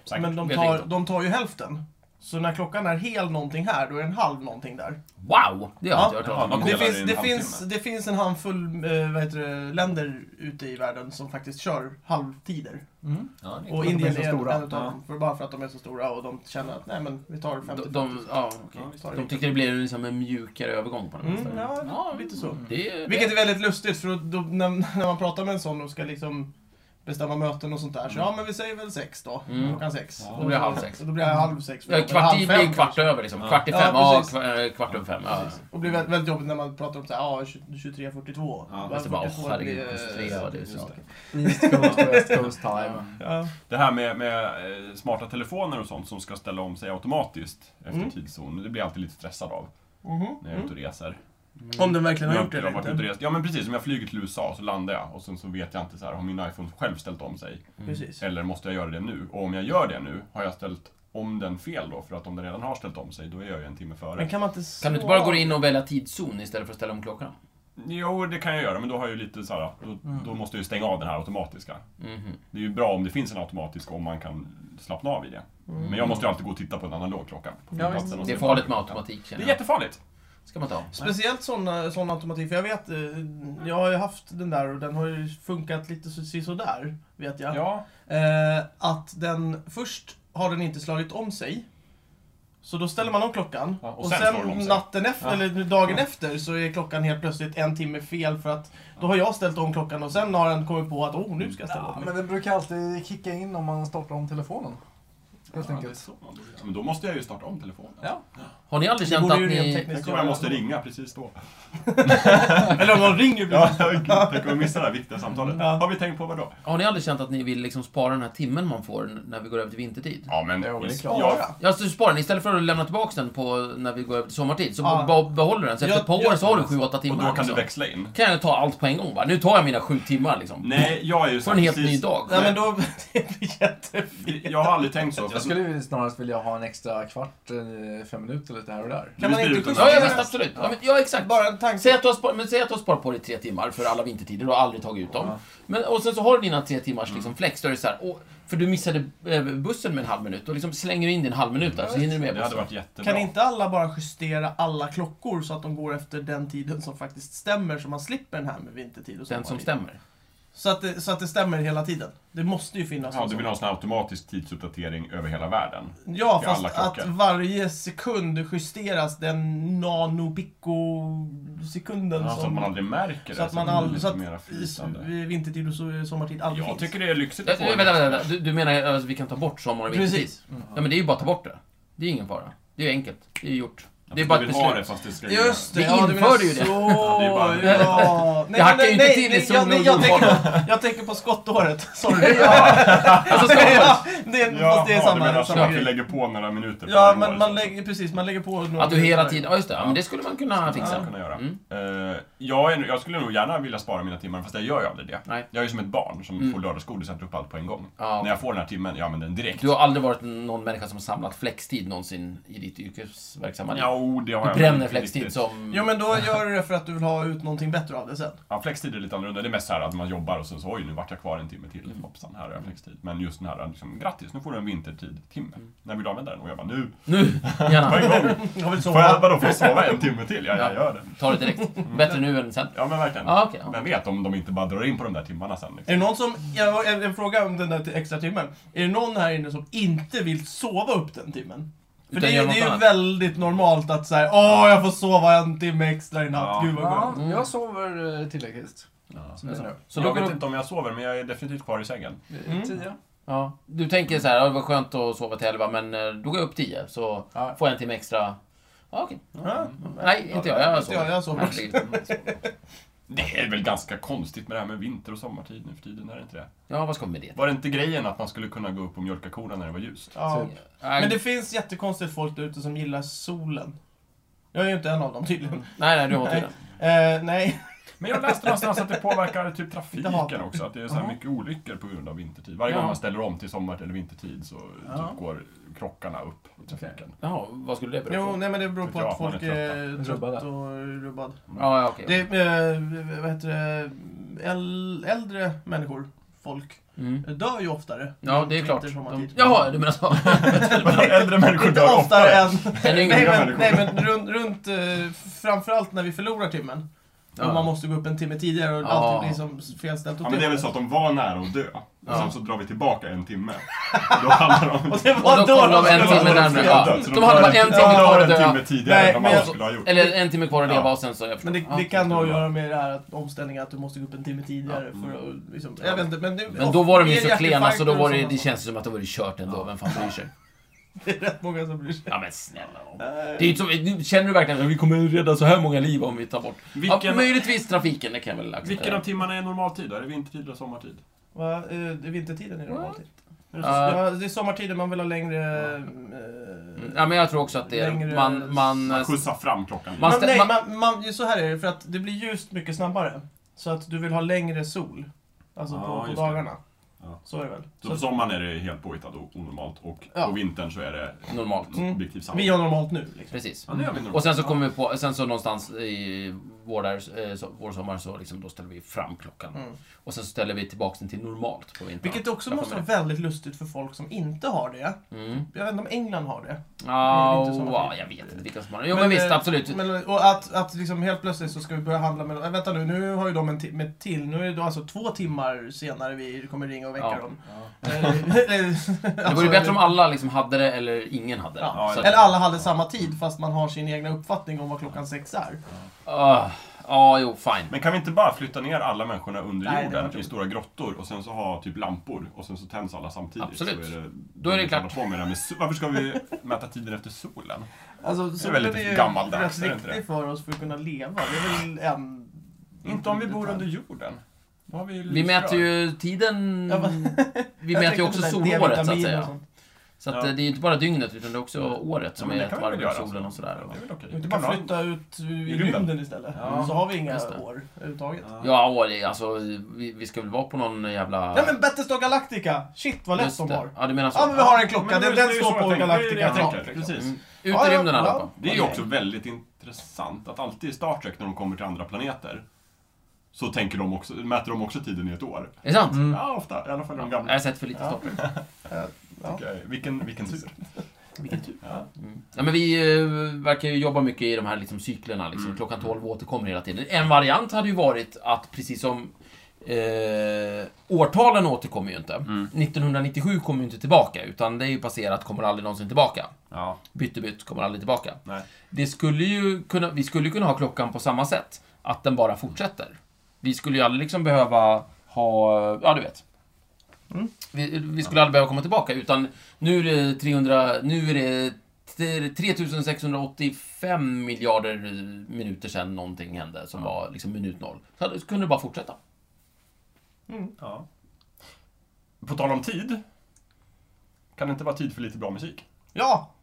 Speaker 3: Säkert.
Speaker 1: Men de
Speaker 4: Vet
Speaker 1: tar,
Speaker 4: inte.
Speaker 1: de tar ju hälften. Så när klockan är hel någonting här, då är den halv någonting där.
Speaker 4: Wow! Det har
Speaker 1: Ja.
Speaker 4: jag inte hört talas om.
Speaker 1: Det
Speaker 3: Ja, Delar
Speaker 1: finns,
Speaker 3: i en
Speaker 1: det,
Speaker 3: halvtimme.
Speaker 1: finns, det finns en handfull eh, vad heter det, länder ute i världen som faktiskt kör halvtider.
Speaker 2: Mm.
Speaker 4: Ja, det är
Speaker 1: Och
Speaker 4: klart.
Speaker 1: Indien
Speaker 2: så
Speaker 1: är en
Speaker 2: stora.
Speaker 1: en utav dem, för bara för att de är så stora och de känner att nej men vi tar 50
Speaker 4: De, de, ja, okej.
Speaker 3: Ja,
Speaker 1: vi tar
Speaker 4: de
Speaker 1: det.
Speaker 4: tyckte det blev liksom en mjukare övergång på den här
Speaker 1: Mm, ja, lite så.
Speaker 4: Det är,
Speaker 1: Vilket är väldigt lustigt för då, när, när man pratar med en sån och ska liksom bestämma möten och sånt där. Så ja, men vi säger väl sex då.
Speaker 4: Mm.
Speaker 1: Klockan sex.
Speaker 3: Ja.
Speaker 1: Mm. Och
Speaker 4: Då blir det halv sex.
Speaker 1: Då blir det halv sex.
Speaker 4: ja, kvart i blir kvart över liksom.
Speaker 3: Ja.
Speaker 4: Kvart i
Speaker 1: Ja,
Speaker 4: fem, ja,
Speaker 1: precis.
Speaker 4: kva- eh, kvart över fem. Ja.
Speaker 1: Och blir väldigt, väldigt jobbigt när man pratar om så här, ja, 23, 42.
Speaker 3: Ja,
Speaker 4: Och så bara, åh herregud,
Speaker 1: blir, eh,
Speaker 4: 23, ja, det är så. Mm.
Speaker 2: East Coast och West Coast time.
Speaker 1: Ja.
Speaker 3: Det här med, med eh, smarta telefoner och sånt som ska ställa om sig automatiskt efter
Speaker 1: Mm.
Speaker 3: tidszon. Det blir jag alltid lite stressad av
Speaker 1: Mhm.
Speaker 3: när jag är ute och reser.
Speaker 1: Om den verkligen
Speaker 3: Om
Speaker 1: har
Speaker 3: jag
Speaker 1: gjort det
Speaker 3: har varit
Speaker 1: eller
Speaker 3: ute
Speaker 1: inte.
Speaker 3: och rest. Ja men precis, om jag flyger till USA så landar jag och sen så vet jag inte så här, har min iPhone själv ställt om sig?
Speaker 1: Precis.
Speaker 3: Eller måste jag göra det nu? Och om jag gör det nu, har jag ställt om den fel då? För att om den redan har ställt om sig, då är jag ju en timme före.
Speaker 1: Men kan man inte slå...
Speaker 4: Kan du inte bara gå in och välja tidszon istället för att ställa om klockan?
Speaker 3: Jo, det kan jag göra, men då har jag ju lite så här, då,
Speaker 2: Mm.
Speaker 3: då måste jag ju stänga av den här automatiska.
Speaker 4: Mhm.
Speaker 3: Det är ju bra om det finns en automatisk om man kan slappna av i det.
Speaker 2: Mm.
Speaker 3: Men jag måste ju alltid gå och titta på en analog klocka. På flygplatsen och
Speaker 4: Det är
Speaker 3: se-
Speaker 4: farligt med automatik
Speaker 3: Det
Speaker 4: känner
Speaker 3: är
Speaker 4: jag.
Speaker 3: jättefarligt!
Speaker 4: Ska man ta.
Speaker 1: Speciellt sån, eh, sån automatik, för jag vet, eh, jag har ju haft den där och den har ju funkat lite så- sisådär, vet jag.
Speaker 3: Ja,
Speaker 1: Eh, att den först har den inte slagit om sig. Så då ställer man om klockan.
Speaker 2: Ja,
Speaker 1: och,
Speaker 3: och
Speaker 1: sen,
Speaker 3: sen slår de om sig.
Speaker 1: natten efter,
Speaker 2: Ja.
Speaker 1: eller dagen efter, så är klockan helt plötsligt en timme fel för att då har jag ställt om klockan och sen har den kommit på att oh, nu ska jag ställa om
Speaker 2: Ja,
Speaker 1: mig.
Speaker 2: men det brukar alltid kicka in om man startar om telefonen. Helt
Speaker 3: Ja, det är
Speaker 2: enkelt.
Speaker 3: så man borde göra. Men då måste jag ju starta om telefonen.
Speaker 2: Ja.
Speaker 4: Har ni aldrig
Speaker 1: Det
Speaker 4: känt
Speaker 1: borde
Speaker 4: att
Speaker 1: ju rent
Speaker 4: ni...
Speaker 1: tekniskt
Speaker 3: Tänk om jag måste ringa precis då.
Speaker 1: Eller om någon ringer
Speaker 3: Ja,
Speaker 1: precis.
Speaker 3: gud, tänk om jag missar det här viktiga samtalet.
Speaker 1: Ja.
Speaker 3: Har vi tänkt på vad då?
Speaker 4: Har ni aldrig känt att ni vill liksom spara den här timmen man får n- när vi går över till vintertid?
Speaker 3: Ja, men...
Speaker 2: Jo, det är klart.
Speaker 3: jag,
Speaker 4: Ja, så sparar ni. Istället för att lämna tillbaka den på när vi går över till sommartid, så
Speaker 1: Ja.
Speaker 4: be- behåller den. Så efter
Speaker 1: Jag-
Speaker 4: ett par år
Speaker 1: jag-
Speaker 4: så har du 7-8 timmar.
Speaker 3: och då kan du
Speaker 4: liksom.
Speaker 3: växla in.
Speaker 4: kan jag ta allt på en gång va? Nu tar jag mina sju timmar liksom.
Speaker 3: Nej, jag är ju
Speaker 4: Får
Speaker 3: så
Speaker 4: en helt
Speaker 3: precis-
Speaker 4: ny dag.
Speaker 1: Nej men då, det blir jättefel.
Speaker 3: Jag har aldrig tänkt så. för
Speaker 2: Jag skulle ju snarast vilja ha en extra kvart, eh, fem minuter lite här och där.
Speaker 1: Kan man
Speaker 3: blir
Speaker 1: inte
Speaker 3: utan-
Speaker 4: Ja, ja
Speaker 1: justera-
Speaker 4: visst, absolut. Ja, men, ja exakt.
Speaker 1: Bara en tanke.
Speaker 4: Säg att, du har spar- men säg att du har sparat på dig tre timmar för alla vintertider, du har aldrig tagit ut dem.
Speaker 2: Ja.
Speaker 4: Men, och sen så har du dina tre timmars liksom, flex, då är det så här, åh, för du missade eh, bussen med en halv minut, och liksom slänger du in din halv minut där så hinner du med
Speaker 3: Det hade
Speaker 4: bussen.
Speaker 3: varit jättebra.
Speaker 1: Kan inte alla bara justera alla klockor så att de går efter den tiden som faktiskt stämmer så man slipper den här med vintertid och
Speaker 4: Den som
Speaker 1: sommartid?
Speaker 4: stämmer.
Speaker 1: Så att, det, så att det stämmer hela tiden. Det måste ju finnas
Speaker 3: Ja,
Speaker 1: en
Speaker 3: du
Speaker 1: sån.
Speaker 3: vill ha en sån här automatisk tidsuppdatering över hela världen.
Speaker 1: Ja,
Speaker 3: i
Speaker 1: fast
Speaker 3: alla
Speaker 1: att
Speaker 3: klockor.
Speaker 1: varje sekund justeras den nanopico-sekunden
Speaker 3: Ja, så att man
Speaker 1: som...
Speaker 3: aldrig märker det.
Speaker 1: Så att man
Speaker 3: det blir
Speaker 1: aldrig...
Speaker 3: lite
Speaker 1: Så att
Speaker 3: mera flytande.
Speaker 1: i- i vintertid och so- sommartid aldrig
Speaker 3: Jag
Speaker 1: finns.
Speaker 3: tycker det är lyxigt
Speaker 4: Vänta,
Speaker 3: att få en
Speaker 4: Eh, vänta,
Speaker 3: extra.
Speaker 4: vänta. Du, du menar att vi kan ta bort sommar och vintertid?
Speaker 1: Precis.
Speaker 4: Ja, men det är ju bara att ta bort det. Det är ingen fara. Det är ju enkelt. Det är ju gjort. Det
Speaker 3: Du
Speaker 4: är bara ett
Speaker 3: vill ha det
Speaker 4: beslut.
Speaker 3: fast det ska
Speaker 1: Just det,
Speaker 4: Vi
Speaker 1: ja, du menar
Speaker 4: införde ju det.
Speaker 1: Så,
Speaker 3: det är bara-
Speaker 1: ja.
Speaker 4: Det hackar ju inte till i
Speaker 1: nej,
Speaker 4: sol
Speaker 1: jag, nej,
Speaker 4: och
Speaker 1: jag,
Speaker 4: jordvarv.
Speaker 1: tänker, jag tänker på skottåret. Sorry.
Speaker 4: Alltså, ska
Speaker 1: ja, det, är-
Speaker 3: Ja,
Speaker 1: fast det är
Speaker 3: du
Speaker 1: samma,
Speaker 3: menar som
Speaker 1: samma
Speaker 3: att vi
Speaker 1: grej.
Speaker 3: lägger på några minuter
Speaker 1: Ja,
Speaker 3: per år,
Speaker 1: men man
Speaker 3: så.
Speaker 1: lägger, precis, man lägger på några
Speaker 4: Att du hela
Speaker 1: minuter.
Speaker 4: tiden... Ja, just det. Ja, men det skulle man kunna
Speaker 3: Skulle man
Speaker 4: fixa.
Speaker 3: kunna göra.
Speaker 4: Mm.
Speaker 3: Eh, jag, är, jag skulle nog gärna vilja spara mina timmar, fast jag gör ju aldrig det.
Speaker 4: Nej.
Speaker 3: Jag är ju som ett barn som
Speaker 4: Mm.
Speaker 3: får lördagsgodis och äter upp allt på en gång.
Speaker 4: Ja.
Speaker 3: När jag får den här timmen, jag använder den direkt.
Speaker 4: Du har aldrig varit någon människa som har samlat flextid någonsin i ditt yrkesverksamma liv?
Speaker 3: Ja, oh, det har
Speaker 4: Du
Speaker 3: jag
Speaker 4: bränner
Speaker 3: inte
Speaker 4: flextid
Speaker 3: riktigt.
Speaker 4: som...
Speaker 1: Jo, men då gör du det för att du vill ha ut någonting bättre av det sen.
Speaker 3: Ja, flextid är lite annorlunda. Det är mest så här att man jobbar och sen så oj, nu vart jag kvar en timme
Speaker 4: Mm.
Speaker 3: till. Hoppsan, här har jag flextid. Men just den här, liksom, grattis, nu får du en vintertid-timme.
Speaker 4: Mm.
Speaker 3: När vill du använda den? Och jag bara, nu!
Speaker 4: Nu!
Speaker 3: På en
Speaker 4: Gärna.
Speaker 3: gång!
Speaker 1: Jag vill
Speaker 3: Får jag,
Speaker 1: sova.
Speaker 3: vadå, får jag sova en timme till? Ja, jag gör det.
Speaker 4: Ta det direkt. Bättre nu än sen.
Speaker 3: Ja, men verkligen.
Speaker 4: Ja, okej, ja.
Speaker 3: Vem vet om de inte bara drar in på de där timmarna sen.
Speaker 1: Är
Speaker 3: Liksom.
Speaker 1: det någon som, jag en, en fråga om den där t- extra timmen. Är det någon här inne som inte vill sova upp den timmen? För
Speaker 4: Utan
Speaker 1: det är,
Speaker 4: gör
Speaker 1: ju- det
Speaker 4: något
Speaker 1: är ju
Speaker 4: annat.
Speaker 1: väldigt normalt att säga åh jag får sova en timme extra i natt,
Speaker 3: Ja.
Speaker 1: gud vad
Speaker 2: Ja,
Speaker 1: skönt.
Speaker 4: Mm.
Speaker 2: jag sover eh, tillräckligt.
Speaker 3: Ja.
Speaker 2: Som det är nu.
Speaker 4: Så då
Speaker 3: jag
Speaker 4: går
Speaker 3: vet
Speaker 4: du...
Speaker 3: inte om jag sover, men jag är definitivt kvar i sängen.
Speaker 1: Mm.
Speaker 2: Eh, Tio?
Speaker 4: Ja. Du tänker så här, ja, det var skönt att sova till elva, men eh, då går jag upp tio, så
Speaker 2: Ja.
Speaker 4: får jag en timme extra. Ja, okej.
Speaker 1: Ja.
Speaker 4: Nej, inte jag. Jag
Speaker 1: Inte jag, jag sover.
Speaker 4: Herregud.
Speaker 3: Det är väl ganska konstigt med det här med vinter och sommartid nu för tiden, är det inte det?
Speaker 4: Ja, vad ska man med det?
Speaker 3: Var det inte grejen att man skulle kunna gå upp och mjölka korna när det var ljust?
Speaker 1: Ja.
Speaker 2: Typ.
Speaker 4: Nej,
Speaker 1: Men det finns jättekonstigt folk där ute som gillar solen. Jag är ju inte en av dem tydligen.
Speaker 4: nej, nej, du har tur.
Speaker 1: Eh, nej.
Speaker 3: Men jag läste någonstans att det påverkar typ
Speaker 1: Inte
Speaker 3: trafiken
Speaker 1: hat.
Speaker 3: också. Att det är så här
Speaker 1: Jaha.
Speaker 3: mycket olyckor på grund av vintertid. Varje
Speaker 4: Ja.
Speaker 3: gång man ställer om till sommar eller vintertid så
Speaker 2: Ja.
Speaker 3: typ går krockarna upp i trafiken.
Speaker 4: Jaha, vad skulle det bero
Speaker 1: Jo,
Speaker 4: på?
Speaker 1: nej men det beror på
Speaker 3: Tycker jag
Speaker 1: att
Speaker 3: att man
Speaker 1: folk
Speaker 3: är
Speaker 1: är
Speaker 2: Rubbade.
Speaker 1: trött och rubbad.
Speaker 4: Ja, ja, okej.
Speaker 1: Det är, eh, vad heter det, äl- äldre människor, folk,
Speaker 4: Mm.
Speaker 1: dör ju oftare.
Speaker 4: Ja, det är klart.
Speaker 1: Vinter,
Speaker 4: De...
Speaker 1: Eh, sommartid.
Speaker 4: Jaha, du menar så.
Speaker 3: Äldre människor
Speaker 1: Inte
Speaker 3: dör
Speaker 1: oftare
Speaker 3: oftare.
Speaker 1: än...
Speaker 4: Den
Speaker 1: Nej
Speaker 4: yngre.
Speaker 1: men, nej, men runt, runt eh, framförallt när vi förlorar timmen. Och man måste gå upp en timme tidigare och
Speaker 4: Ja.
Speaker 1: allting blir som felställt åt
Speaker 3: Ja, men det är väl så att de var nära att dö. Och
Speaker 4: Ja.
Speaker 3: sen så drar vi tillbaka en timme. Då handlar Alltså, de
Speaker 1: Och det
Speaker 4: Och
Speaker 1: var
Speaker 4: då kom de en
Speaker 1: skulle vara-
Speaker 4: timme närmare.
Speaker 1: Ja.
Speaker 4: Ja, de hade bara en timme kvar att
Speaker 3: att dö. en
Speaker 4: dö.
Speaker 3: timme tidigare
Speaker 1: Nej,
Speaker 3: än
Speaker 1: men
Speaker 3: de
Speaker 1: jag-
Speaker 3: annars skulle ha gjort.
Speaker 4: Eller en timme kvar att leva
Speaker 3: Ja.
Speaker 4: och sen så... Jag
Speaker 1: Men det,
Speaker 4: förstår.
Speaker 1: det
Speaker 4: Ja.
Speaker 1: kan ha att göra med det här att omställningen, att du måste gå upp en timme tidigare för att liksom, Jag vet inte, men... Det,
Speaker 4: Men då var de ju
Speaker 1: är
Speaker 4: så
Speaker 1: hjärtinfarkter
Speaker 4: klena så då
Speaker 1: och
Speaker 4: var det,
Speaker 1: sådana
Speaker 4: det känns som att det var det kört ändå. Vem fan bryr sig?
Speaker 1: Det är rätt många som bryr sig.
Speaker 4: Ja men snälla nån.
Speaker 1: Eh.
Speaker 4: det är inte så, Känner du verkligen att vi kommer rädda så här många liv om vi tar bort... Ja,
Speaker 3: Vilken-
Speaker 4: möjligtvis trafiken, det kan jag väl
Speaker 3: Vilken av
Speaker 4: acceptera.
Speaker 3: timmarna är normaltid då? Är det vintertid eller sommartid?
Speaker 1: Va? Eh, det är vintertiden är det normalt.
Speaker 3: Är det så-
Speaker 4: Ja.
Speaker 1: Ja, det är sommartiden, man vill ha längre... eh,
Speaker 4: Mm. Ja men jag tror också att det är...
Speaker 1: Längre-
Speaker 4: Man... man
Speaker 3: Man skjutsar fram klockan lite.
Speaker 4: Alltså- Man
Speaker 1: Man,
Speaker 4: stä-
Speaker 1: nej,
Speaker 4: man-
Speaker 1: man, man, så här är det, för att det blir ljust mycket snabbare. Så att du vill ha längre sol. Alltså
Speaker 3: Ja,
Speaker 1: på, på
Speaker 3: just det.
Speaker 1: dagarna.
Speaker 3: Ja.
Speaker 1: Så är det väl?
Speaker 3: Så
Speaker 1: Så
Speaker 3: på sommaren är det helt påhittat och onormalt och
Speaker 1: Ja.
Speaker 3: på vintern så är det
Speaker 4: normalt.
Speaker 1: Mm.
Speaker 3: objektiv
Speaker 1: att
Speaker 3: sanning.
Speaker 1: vi har normalt nu. Liksom.
Speaker 4: Precis.
Speaker 3: Ja, nu har vi normalt.
Speaker 4: Och sen så kommer vi på... Sen så någonstans i vår, där, eh, so- vår sommar så liksom, då ställer vi fram klockan.
Speaker 1: Mm.
Speaker 4: Och sen ställer vi tillbaka den till normalt på vintern.
Speaker 1: Vilket också
Speaker 4: Jag får
Speaker 1: måste vara
Speaker 4: med
Speaker 1: väldigt lustigt för folk som inte har det.
Speaker 4: Mm.
Speaker 1: Jag vet inte om England har det.
Speaker 4: Ja,
Speaker 1: inte såna
Speaker 4: wow,
Speaker 1: fel.
Speaker 4: jag vet inte vilka som har det. Jo, men, visst,
Speaker 1: eh,
Speaker 4: absolut.
Speaker 1: Men, och att, att liksom helt plötsligt så ska vi börja handla med... Äh, vänta nu, nu har ju de en ti- med till. Nu är det då alltså två timmar senare vi kommer ringa och väcka
Speaker 4: Ja.
Speaker 1: dem. Eh, alltså,
Speaker 2: Ja.
Speaker 4: det vore ju bättre om alla liksom hade det eller ingen hade det.
Speaker 1: Ja,
Speaker 4: Så att-
Speaker 1: eller alla hade samma tid fast man har sin egna uppfattning om vad klockan sex är.
Speaker 4: Ah, Ja, jo, fine.
Speaker 3: Men kan vi inte bara flytta ner alla människorna under
Speaker 1: Nej, det var
Speaker 3: jorden i
Speaker 1: roligt.
Speaker 3: stora grottor och sen så ha typ lampor och sen så tänds alla samtidigt?
Speaker 4: Absolut.
Speaker 3: Så är det,
Speaker 4: Då är det
Speaker 3: vi
Speaker 4: klart.
Speaker 3: håller På med det här med, sol- varför ska vi mäta tiden efter solen?
Speaker 1: Alltså, solen
Speaker 3: väldigt
Speaker 1: är ju
Speaker 3: gammaldags, är det
Speaker 1: rätt
Speaker 3: inte
Speaker 1: viktig för oss för att kunna leva. Det är väl en...
Speaker 3: Inte om vi bor
Speaker 1: detalj.
Speaker 3: under jorden. Då har vi ju
Speaker 4: Vi
Speaker 3: lysrör.
Speaker 4: mäter ju tiden...
Speaker 1: Ja, va?
Speaker 4: Vi
Speaker 1: Jag
Speaker 4: mäter ju
Speaker 1: tänkte
Speaker 4: också
Speaker 1: på det där
Speaker 4: solåret, så att
Speaker 1: D-vitamin och
Speaker 4: säga.
Speaker 1: sånt. Mm.
Speaker 4: Så att
Speaker 3: Ja.
Speaker 4: eh, det är ju inte bara dygnet, utan det är också året som
Speaker 3: men
Speaker 4: är
Speaker 3: det
Speaker 4: ett
Speaker 3: kan vi
Speaker 4: varv
Speaker 3: väl
Speaker 4: runt
Speaker 3: göra,
Speaker 4: solen och
Speaker 3: alltså.
Speaker 4: sådär.
Speaker 3: Det är väl okej.
Speaker 1: Vi kan inte
Speaker 3: Kan
Speaker 1: bara
Speaker 3: ha-
Speaker 1: flytta ut i
Speaker 3: rymden.
Speaker 1: rymden istället.
Speaker 3: Ja,
Speaker 1: Så har vi inga
Speaker 4: just det.
Speaker 1: år överhuvudtaget.
Speaker 4: Ja, och det, alltså vi, vi ska väl vara på någon jävla...
Speaker 1: Nej men Battlestar Galactica! Shit vad lätt
Speaker 4: Just
Speaker 1: de
Speaker 4: det.
Speaker 1: har.
Speaker 4: Ja, du menar så?
Speaker 1: Ja men vi har en
Speaker 3: Ja,
Speaker 1: klocka,
Speaker 3: men
Speaker 1: den,
Speaker 3: det är
Speaker 1: den
Speaker 3: ju
Speaker 1: står
Speaker 3: så jag
Speaker 1: på
Speaker 3: tänker. Det är ju det
Speaker 1: Galactica.
Speaker 3: jag
Speaker 1: Ja.
Speaker 3: tänker, liksom.
Speaker 4: Mm. Ut i
Speaker 1: Ja, ja,
Speaker 4: rymden i alla
Speaker 1: ja.
Speaker 4: fall.
Speaker 3: Det är ju
Speaker 4: Okej.
Speaker 3: också väldigt intressant att alltid i Star Trek när de kommer till andra planeter så tänker de också, mäter de också tiden i ett år.
Speaker 4: Är det sant?
Speaker 2: Mm.
Speaker 3: Ja, ofta. I alla fall de
Speaker 4: Jag har
Speaker 3: gamla.
Speaker 4: sett för lite Star Trek.
Speaker 1: Ja. Typ.
Speaker 3: Tycker jag. Vilken, vilken tur.
Speaker 4: Vilken tur.
Speaker 3: Ja.
Speaker 4: Mm. Ja, men vi eh, verkar ju jobba mycket i de här liksom, cyklerna. Liksom. Klockan 12 återkommer hela tiden. En variant hade ju varit att, precis som eh, årtalen återkommer ju inte. 1997 kommer ju inte tillbaka, utan det är ju passerat, kommer aldrig någonsin tillbaka.
Speaker 3: Ja.
Speaker 4: Bytt är bytt, kommer aldrig tillbaka.
Speaker 3: Nej.
Speaker 4: Det skulle ju kunna, vi skulle ju kunna ha klockan på samma sätt, att den bara fortsätter. Vi skulle ju aldrig liksom behöva ha, ja du vet.
Speaker 1: Mm.
Speaker 4: Vi, vi skulle aldrig behöva komma tillbaka, utan nu är det 300, nu är det t- 3685 miljarder minuter sedan någonting hände som var liksom minut noll. Så hade- så kunde det bara fortsätta.
Speaker 3: Ja. På tal om tid. Kan det inte vara tid för lite bra musik?
Speaker 1: ja!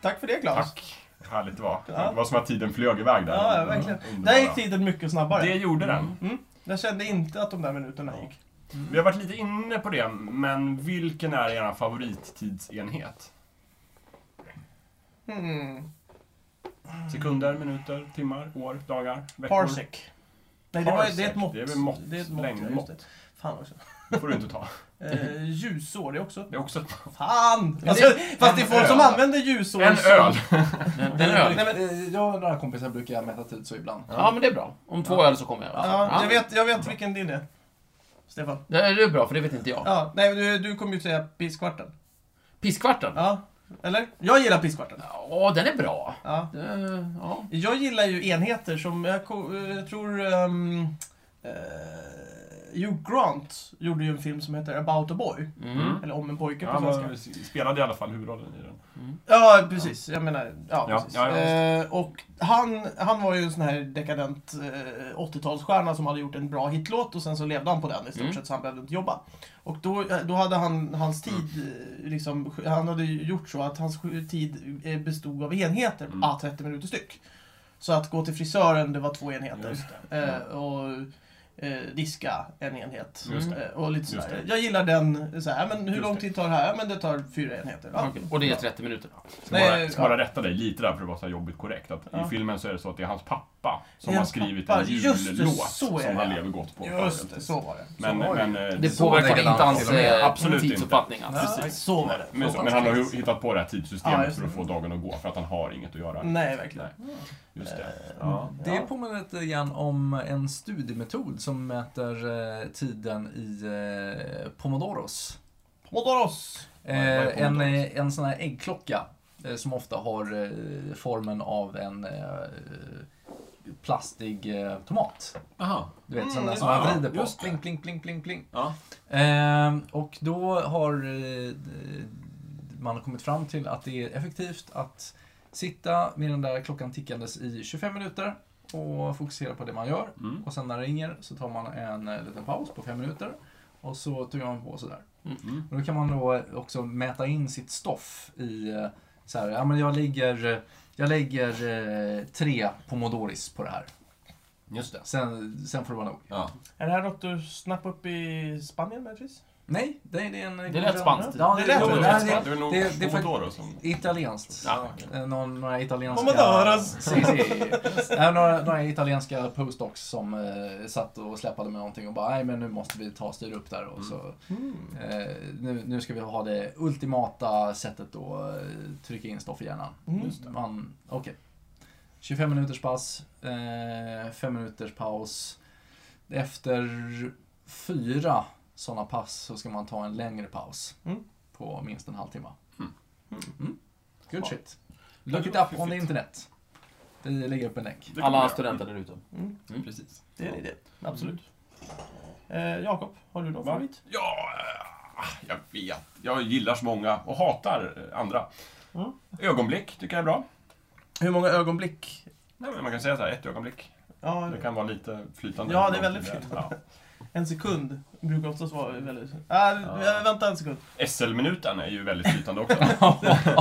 Speaker 1: Tack för det Claes.
Speaker 3: Tack. Härligt det var.
Speaker 1: Ja.
Speaker 3: Det var som att tiden flög iväg där.
Speaker 1: Ja, ja, verkligen.
Speaker 3: Underbara.
Speaker 1: Där gick Mm. tiden mycket snabbare.
Speaker 3: Mm. Det gjorde den.
Speaker 1: Jag kände inte att de där minuterna gick.
Speaker 3: Vi har varit lite inne på det, men vilken är er favorittidsenhet?
Speaker 1: Hmm.
Speaker 3: Sekunder, minuter, timmar, år, dagar, veckor?
Speaker 1: Parsec. Nej, det, var, det är ett mått.
Speaker 3: Det är väl mått,
Speaker 1: Det är ett mått,
Speaker 3: längd,
Speaker 1: ja, just
Speaker 3: mått.
Speaker 1: det. Fan också.
Speaker 3: Det får du inte ta.
Speaker 1: Eh, ljusår, det är också...
Speaker 3: Det är också ett-
Speaker 1: Fan! Fast,
Speaker 4: det-
Speaker 1: fast det är folk som
Speaker 3: öl.
Speaker 1: använder ljusår
Speaker 3: en
Speaker 1: som-
Speaker 3: öl!
Speaker 4: Den,
Speaker 1: Mm.
Speaker 4: den öl.
Speaker 2: Nej, men, eh, jag och några kompisar brukar mäta tid så ibland.
Speaker 4: Ja, men det är bra. Om två öl så kommer jag.
Speaker 1: Ja, jag vet, jag vet vilken din är. Stefan.
Speaker 4: Det är bra, för det vet inte jag.
Speaker 1: Ja, nej, du, du kommer ju säga pisskvarten.
Speaker 4: Pisskvarten?
Speaker 1: Ja, eller? Jag gillar pisskvarten.
Speaker 4: Ja, den är bra.
Speaker 1: Ja.
Speaker 4: Eh, Ja.
Speaker 1: Jag gillar ju enheter som, jag, ko- eh, jag tror... Um, Hugh Grant gjorde ju en film som heter About a Boy.
Speaker 4: Mm.
Speaker 1: Eller Om en pojke på
Speaker 3: Ja,
Speaker 1: svenska.
Speaker 3: man spelade i alla fall huvudrollen i den.
Speaker 4: Mm.
Speaker 1: Ja, precis. Jag menar, ja,
Speaker 3: Ja,
Speaker 1: precis.
Speaker 3: ja, ja,
Speaker 1: Eh, och han, han var ju en sån här dekadent eh, 80-talsstjärna som hade gjort en bra hitlåt och sen så levde han på den i stort
Speaker 4: Mm.
Speaker 1: sett så han behövde inte jobba. Och då, eh, då hade han hans
Speaker 3: Mm.
Speaker 1: tid, eh, liksom, han hade ju gjort så att hans sju- tid eh, bestod av enheter,
Speaker 3: Mm.
Speaker 1: ah, 30 minuter styck. Så att gå till frisören, det var två enheter.
Speaker 3: Just
Speaker 1: Eh, och eh, diska en enhet.
Speaker 3: Just
Speaker 1: Eh, och lite
Speaker 3: Mm.
Speaker 1: sådär.
Speaker 3: Just det.
Speaker 1: Jag gillar den så här, men hur
Speaker 3: Just
Speaker 1: lång
Speaker 3: det.
Speaker 1: tid tar det här? Ja, men det tar fyra enheter. Ja.
Speaker 4: Okej, Och det är 30 minuter. då.
Speaker 3: Ska,
Speaker 1: Nej,
Speaker 3: bara, ska
Speaker 1: ja.
Speaker 3: bara rätta dig lite där för att vara så här jobbigt korrekt. Att
Speaker 1: Ja.
Speaker 3: I filmen så är det så att det är hans pappa som
Speaker 1: Det är
Speaker 3: har
Speaker 1: hans
Speaker 3: skrivit
Speaker 1: pappa.
Speaker 3: en
Speaker 1: Just det,
Speaker 3: jullåt
Speaker 1: så är
Speaker 3: som han
Speaker 1: det.
Speaker 3: lever gott på.
Speaker 1: Just det, så var det.
Speaker 3: Men,
Speaker 2: Så var det.
Speaker 3: men, eh,
Speaker 4: Det
Speaker 2: Så
Speaker 4: påverkar inte
Speaker 2: likadant
Speaker 4: hans
Speaker 2: till och med.
Speaker 4: eh,
Speaker 3: Absolut inte.
Speaker 4: tidsuppfattning alltså.
Speaker 2: Nej.
Speaker 1: Så var det.
Speaker 3: men,
Speaker 1: Så
Speaker 3: så,
Speaker 1: var
Speaker 3: men han
Speaker 1: det.
Speaker 3: har ju hittat på det här
Speaker 1: Ja,
Speaker 3: tidssystemet
Speaker 1: just
Speaker 3: för att
Speaker 1: det.
Speaker 3: få dagen att gå för att han har inget att göra.
Speaker 1: Nej, verkligen.
Speaker 3: Nej. Just det.
Speaker 1: Eh,
Speaker 3: Ja.
Speaker 2: Det påminner lite grann om en studiemetod som mäter eh, tiden i eh, pomodoros.
Speaker 1: Pomodoros!
Speaker 2: Eh,
Speaker 3: Vad är
Speaker 2: en,
Speaker 3: pomodoros?
Speaker 2: eh, en sån här äggklocka eh, som ofta har eh, formen av en eh, plastig eh, tomat.
Speaker 5: Aha.
Speaker 2: Du vet,
Speaker 1: Mm,
Speaker 2: sån där som
Speaker 5: ja,
Speaker 2: man vrider på.
Speaker 5: just det.
Speaker 2: Pling, pling, pling, pling, pling.
Speaker 5: Ja.
Speaker 2: Eh, och då har eh, man kommit fram till att det är effektivt att sitta med den där klockan tickandes i 25 minuter och fokusera på det man gör.
Speaker 3: Mm.
Speaker 2: Och sen när det ringer så tar man en eh, liten paus på 5 minuter och så tuggar man på sådär.
Speaker 5: Mm-hmm.
Speaker 3: Mm.
Speaker 2: Och då kan man då också mäta in sitt stoff i eh, så här, ja men jag lägger, jag lägger eh, tre pomodoris på det här.
Speaker 5: Just det.
Speaker 2: Sen, sen får det vara nog.
Speaker 5: Ja.
Speaker 1: Är det här något du snappade upp i Spanien möjligtvis?
Speaker 2: Nej, det, det är en...
Speaker 4: Det lät spanskt.
Speaker 2: Ja,
Speaker 1: Det
Speaker 2: det,
Speaker 1: lät
Speaker 2: jo,
Speaker 1: som
Speaker 2: det,
Speaker 1: det.
Speaker 2: här
Speaker 3: Det
Speaker 2: är
Speaker 3: är väl nog
Speaker 2: det- det är faktiskt-
Speaker 3: Pomodoro som...
Speaker 2: italienskt.
Speaker 3: Ja,
Speaker 2: Eh, Någon, några italienska...
Speaker 1: Pomodoros.
Speaker 2: Si, si. Eh, några, några italienska postdocs som eh, satt och släpade med någonting och bara nej men nu måste vi ta och styra upp där och så
Speaker 1: Mm.
Speaker 2: eh, nu, nu ska vi ha det ultimata sättet att eh, trycka in stoff i hjärnan.
Speaker 1: Mm.
Speaker 2: Man, okej. 25 minuters pass, eh, 5 minuters paus. Efter fyra sådana pass så ska man ta en längre paus
Speaker 1: Mm.
Speaker 2: på minst en halvtimme.
Speaker 3: Mm.
Speaker 2: Mm. Good shit.
Speaker 3: Det
Speaker 2: Look it
Speaker 3: låter
Speaker 2: up on the
Speaker 3: fiffigt.
Speaker 2: internet. Vi lägger upp en länk.
Speaker 3: Det kommer
Speaker 4: Alla
Speaker 3: jag.
Speaker 4: studenter där ute.
Speaker 1: Mm.
Speaker 3: Mm. Precis.
Speaker 1: Det är en idé. Absolut. Eh, Jakob, har du någon
Speaker 3: Va?
Speaker 1: favorit?
Speaker 3: Ja, eh, jag vet. Jag gillar så många och hatar eh, andra.
Speaker 1: Mm.
Speaker 3: Ögonblick tycker jag är bra.
Speaker 1: Hur många ögonblick?
Speaker 3: Nej, men man kan säga så här, ett ögonblick.
Speaker 1: Ja,
Speaker 3: Det kan vara lite flytande.
Speaker 1: Ja, det är väldigt
Speaker 3: flytande.
Speaker 1: en sekund brukar oftast vara väldigt... Ah,
Speaker 3: Ja.
Speaker 1: Vänta en sekund.
Speaker 3: Ja. SL-minuten är ju väldigt flytande också.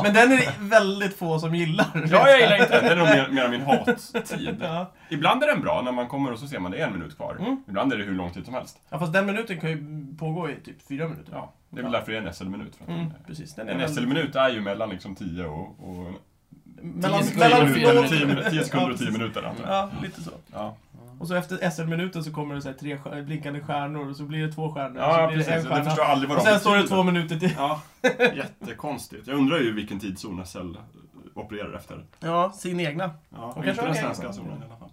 Speaker 1: Men den är det väldigt få som gillar.
Speaker 3: Ja, jag gillar inte den. Den är nog mer, mer min hattid.
Speaker 1: Ja.
Speaker 3: Ibland är den bra, när man kommer och så ser man det är en minut kvar.
Speaker 1: Mm.
Speaker 3: Ibland är det hur lång tid som helst.
Speaker 1: ja, fast den minuten kan ju pågå i typ fyra minuter.
Speaker 3: Ja, det är väl därför det är en SL-minut. för att
Speaker 1: Mm,
Speaker 3: den är-
Speaker 1: precis. Den är
Speaker 3: En
Speaker 1: väldigt-
Speaker 3: SL-minut är ju mellan liksom 10 och... och
Speaker 1: mellan,
Speaker 4: 10 sekunder
Speaker 1: mellan
Speaker 4: och
Speaker 1: två-
Speaker 3: 10 minuter, 10 sekunder och 10 minuter. antar jag.
Speaker 1: Ja, lite så.
Speaker 3: Ja,
Speaker 1: Och så efter SL-minuten så kommer det så här tre stjär- blinkande stjärnor och så blir det två stjärnor. och
Speaker 3: ja
Speaker 1: så blir det
Speaker 3: precis. Jag förstår aldrig vad
Speaker 1: Och
Speaker 3: de
Speaker 1: sen står det
Speaker 3: betyder.
Speaker 1: två minuter till.
Speaker 3: Ja, jättekonstigt. Jag undrar ju vilken tidszon SL opererar efter.
Speaker 1: Ja, sin egna.
Speaker 3: Ja,
Speaker 1: kanske
Speaker 3: inte den
Speaker 1: har
Speaker 3: svenska
Speaker 1: egen.
Speaker 3: zonen i alla fall.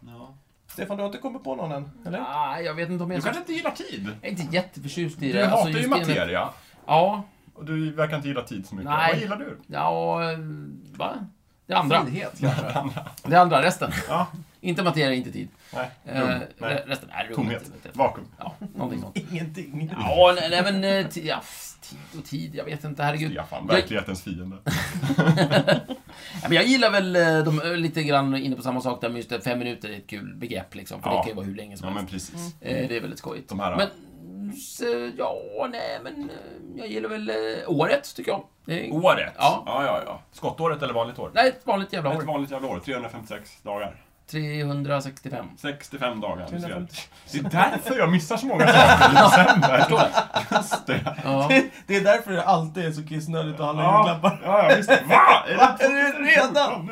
Speaker 3: Ja.
Speaker 1: Stefan, du har inte kommit på någon än? Eller?
Speaker 4: Nej, jag vet inte om
Speaker 3: Du
Speaker 4: jag...
Speaker 3: kanske inte gillar tid?
Speaker 4: Jag är inte jätteförtjust i det.
Speaker 3: Du
Speaker 4: Alltså,
Speaker 3: hatar ju
Speaker 4: just enligt-
Speaker 3: materia.
Speaker 4: Ja,
Speaker 3: Och du verkar inte gilla tid så mycket.
Speaker 4: Nej.
Speaker 3: Vad gillar du?
Speaker 4: ja, eh, va? Det andra.
Speaker 2: Frihet kanske.
Speaker 4: Det andra, resten.
Speaker 3: Ja.
Speaker 4: Inte materia, inte tid.
Speaker 3: Nej.
Speaker 4: Eh,
Speaker 3: Lugn.
Speaker 4: re-
Speaker 3: Nej.
Speaker 4: resten är lugnt.
Speaker 3: Tomhet. Vakuum.
Speaker 4: Ja, någonting sånt.
Speaker 1: Ingenting.
Speaker 4: Ja, nej, nej men eh, ti- ja, f- tid och tid, jag vet inte, herregud.
Speaker 3: Stefan,
Speaker 4: Jag-
Speaker 3: verklighetens fiende.
Speaker 4: Ja, men jag gillar väl eh, de är lite grann inne på samma sak där, men just det, fem minuter är ett kul begrepp liksom. För det
Speaker 3: Ja.
Speaker 4: kan ju vara hur länge som
Speaker 3: Ja, men
Speaker 4: helst.
Speaker 3: precis.
Speaker 4: Eh, Det är väldigt skojigt.
Speaker 3: De här-
Speaker 4: Men, så, ja, nej men eh, jag gillar väl eh, året, tycker jag om. Det är-
Speaker 3: Året.
Speaker 4: Ja.
Speaker 3: ja, ja. ja. Skottåret eller vanligt år?
Speaker 4: Nej, ett vanligt jävla
Speaker 3: Ett
Speaker 4: år.
Speaker 3: vanligt jävla år. 356 dagar.
Speaker 4: 365.
Speaker 3: 65 dagar. du ser.
Speaker 1: 350.
Speaker 3: Det är därför jag missar så många saker i december. Just det.
Speaker 4: Ja.
Speaker 1: Det är därför det alltid är så kissnödigt att handla
Speaker 3: Ja.
Speaker 1: julklappar.
Speaker 3: Ja, ja, visst. Va? Är det
Speaker 1: Är det redan?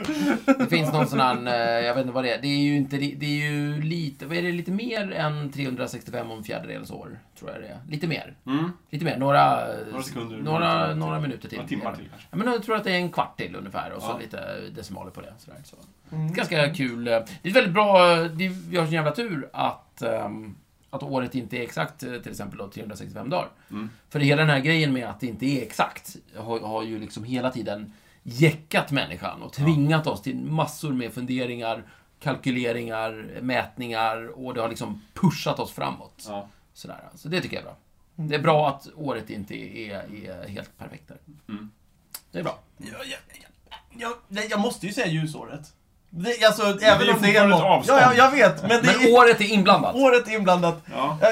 Speaker 4: Det finns någon sån här, eh, jag vet inte vad det är. Det är ju inte, det är ju lite, vad är det lite mer än 365 om fjärdedels år? Tror jag det är. Lite mer.
Speaker 3: Mm.
Speaker 4: Lite mer, några... eh,
Speaker 3: Några sekunder.
Speaker 4: Några, några minuter till.
Speaker 3: Några timmar till kanske.
Speaker 4: Ja, men jag tror att det är en kvart till ungefär och så
Speaker 3: Ja.
Speaker 4: lite decimaler på det. Sådär, så.
Speaker 1: Mm.
Speaker 4: Ganska kul. eh, Det är ett väldigt bra, eh, det, vi har sån jävla tur att, ehm, att året inte är exakt eh, till exempel då, 365 dagar.
Speaker 3: Mm.
Speaker 4: För hela den här grejen med att det inte är exakt har, har ju liksom hela tiden jäckat människan och tvingat oss till massor med funderingar, kalkyleringar, mätningar och det har liksom pushat oss framåt.
Speaker 3: Ja.
Speaker 4: Sådär. Så det tycker jag är bra.
Speaker 1: Mm.
Speaker 4: Det är bra att året inte är, är helt perfekt där.
Speaker 3: Mm.
Speaker 4: Det är bra.
Speaker 1: Jag, jag, jag, jag, jag måste ju säga ljusåret. Det, alltså,
Speaker 3: är
Speaker 1: även
Speaker 3: ju
Speaker 1: om det är
Speaker 3: fortfarande
Speaker 1: något...
Speaker 3: ett
Speaker 1: Ja,
Speaker 3: avstånd.
Speaker 1: ja, jag vet. Men, det
Speaker 4: Men
Speaker 1: är,
Speaker 4: året är inblandat.
Speaker 1: året är inblandat.
Speaker 4: Eh,
Speaker 3: Ja.
Speaker 1: Ja,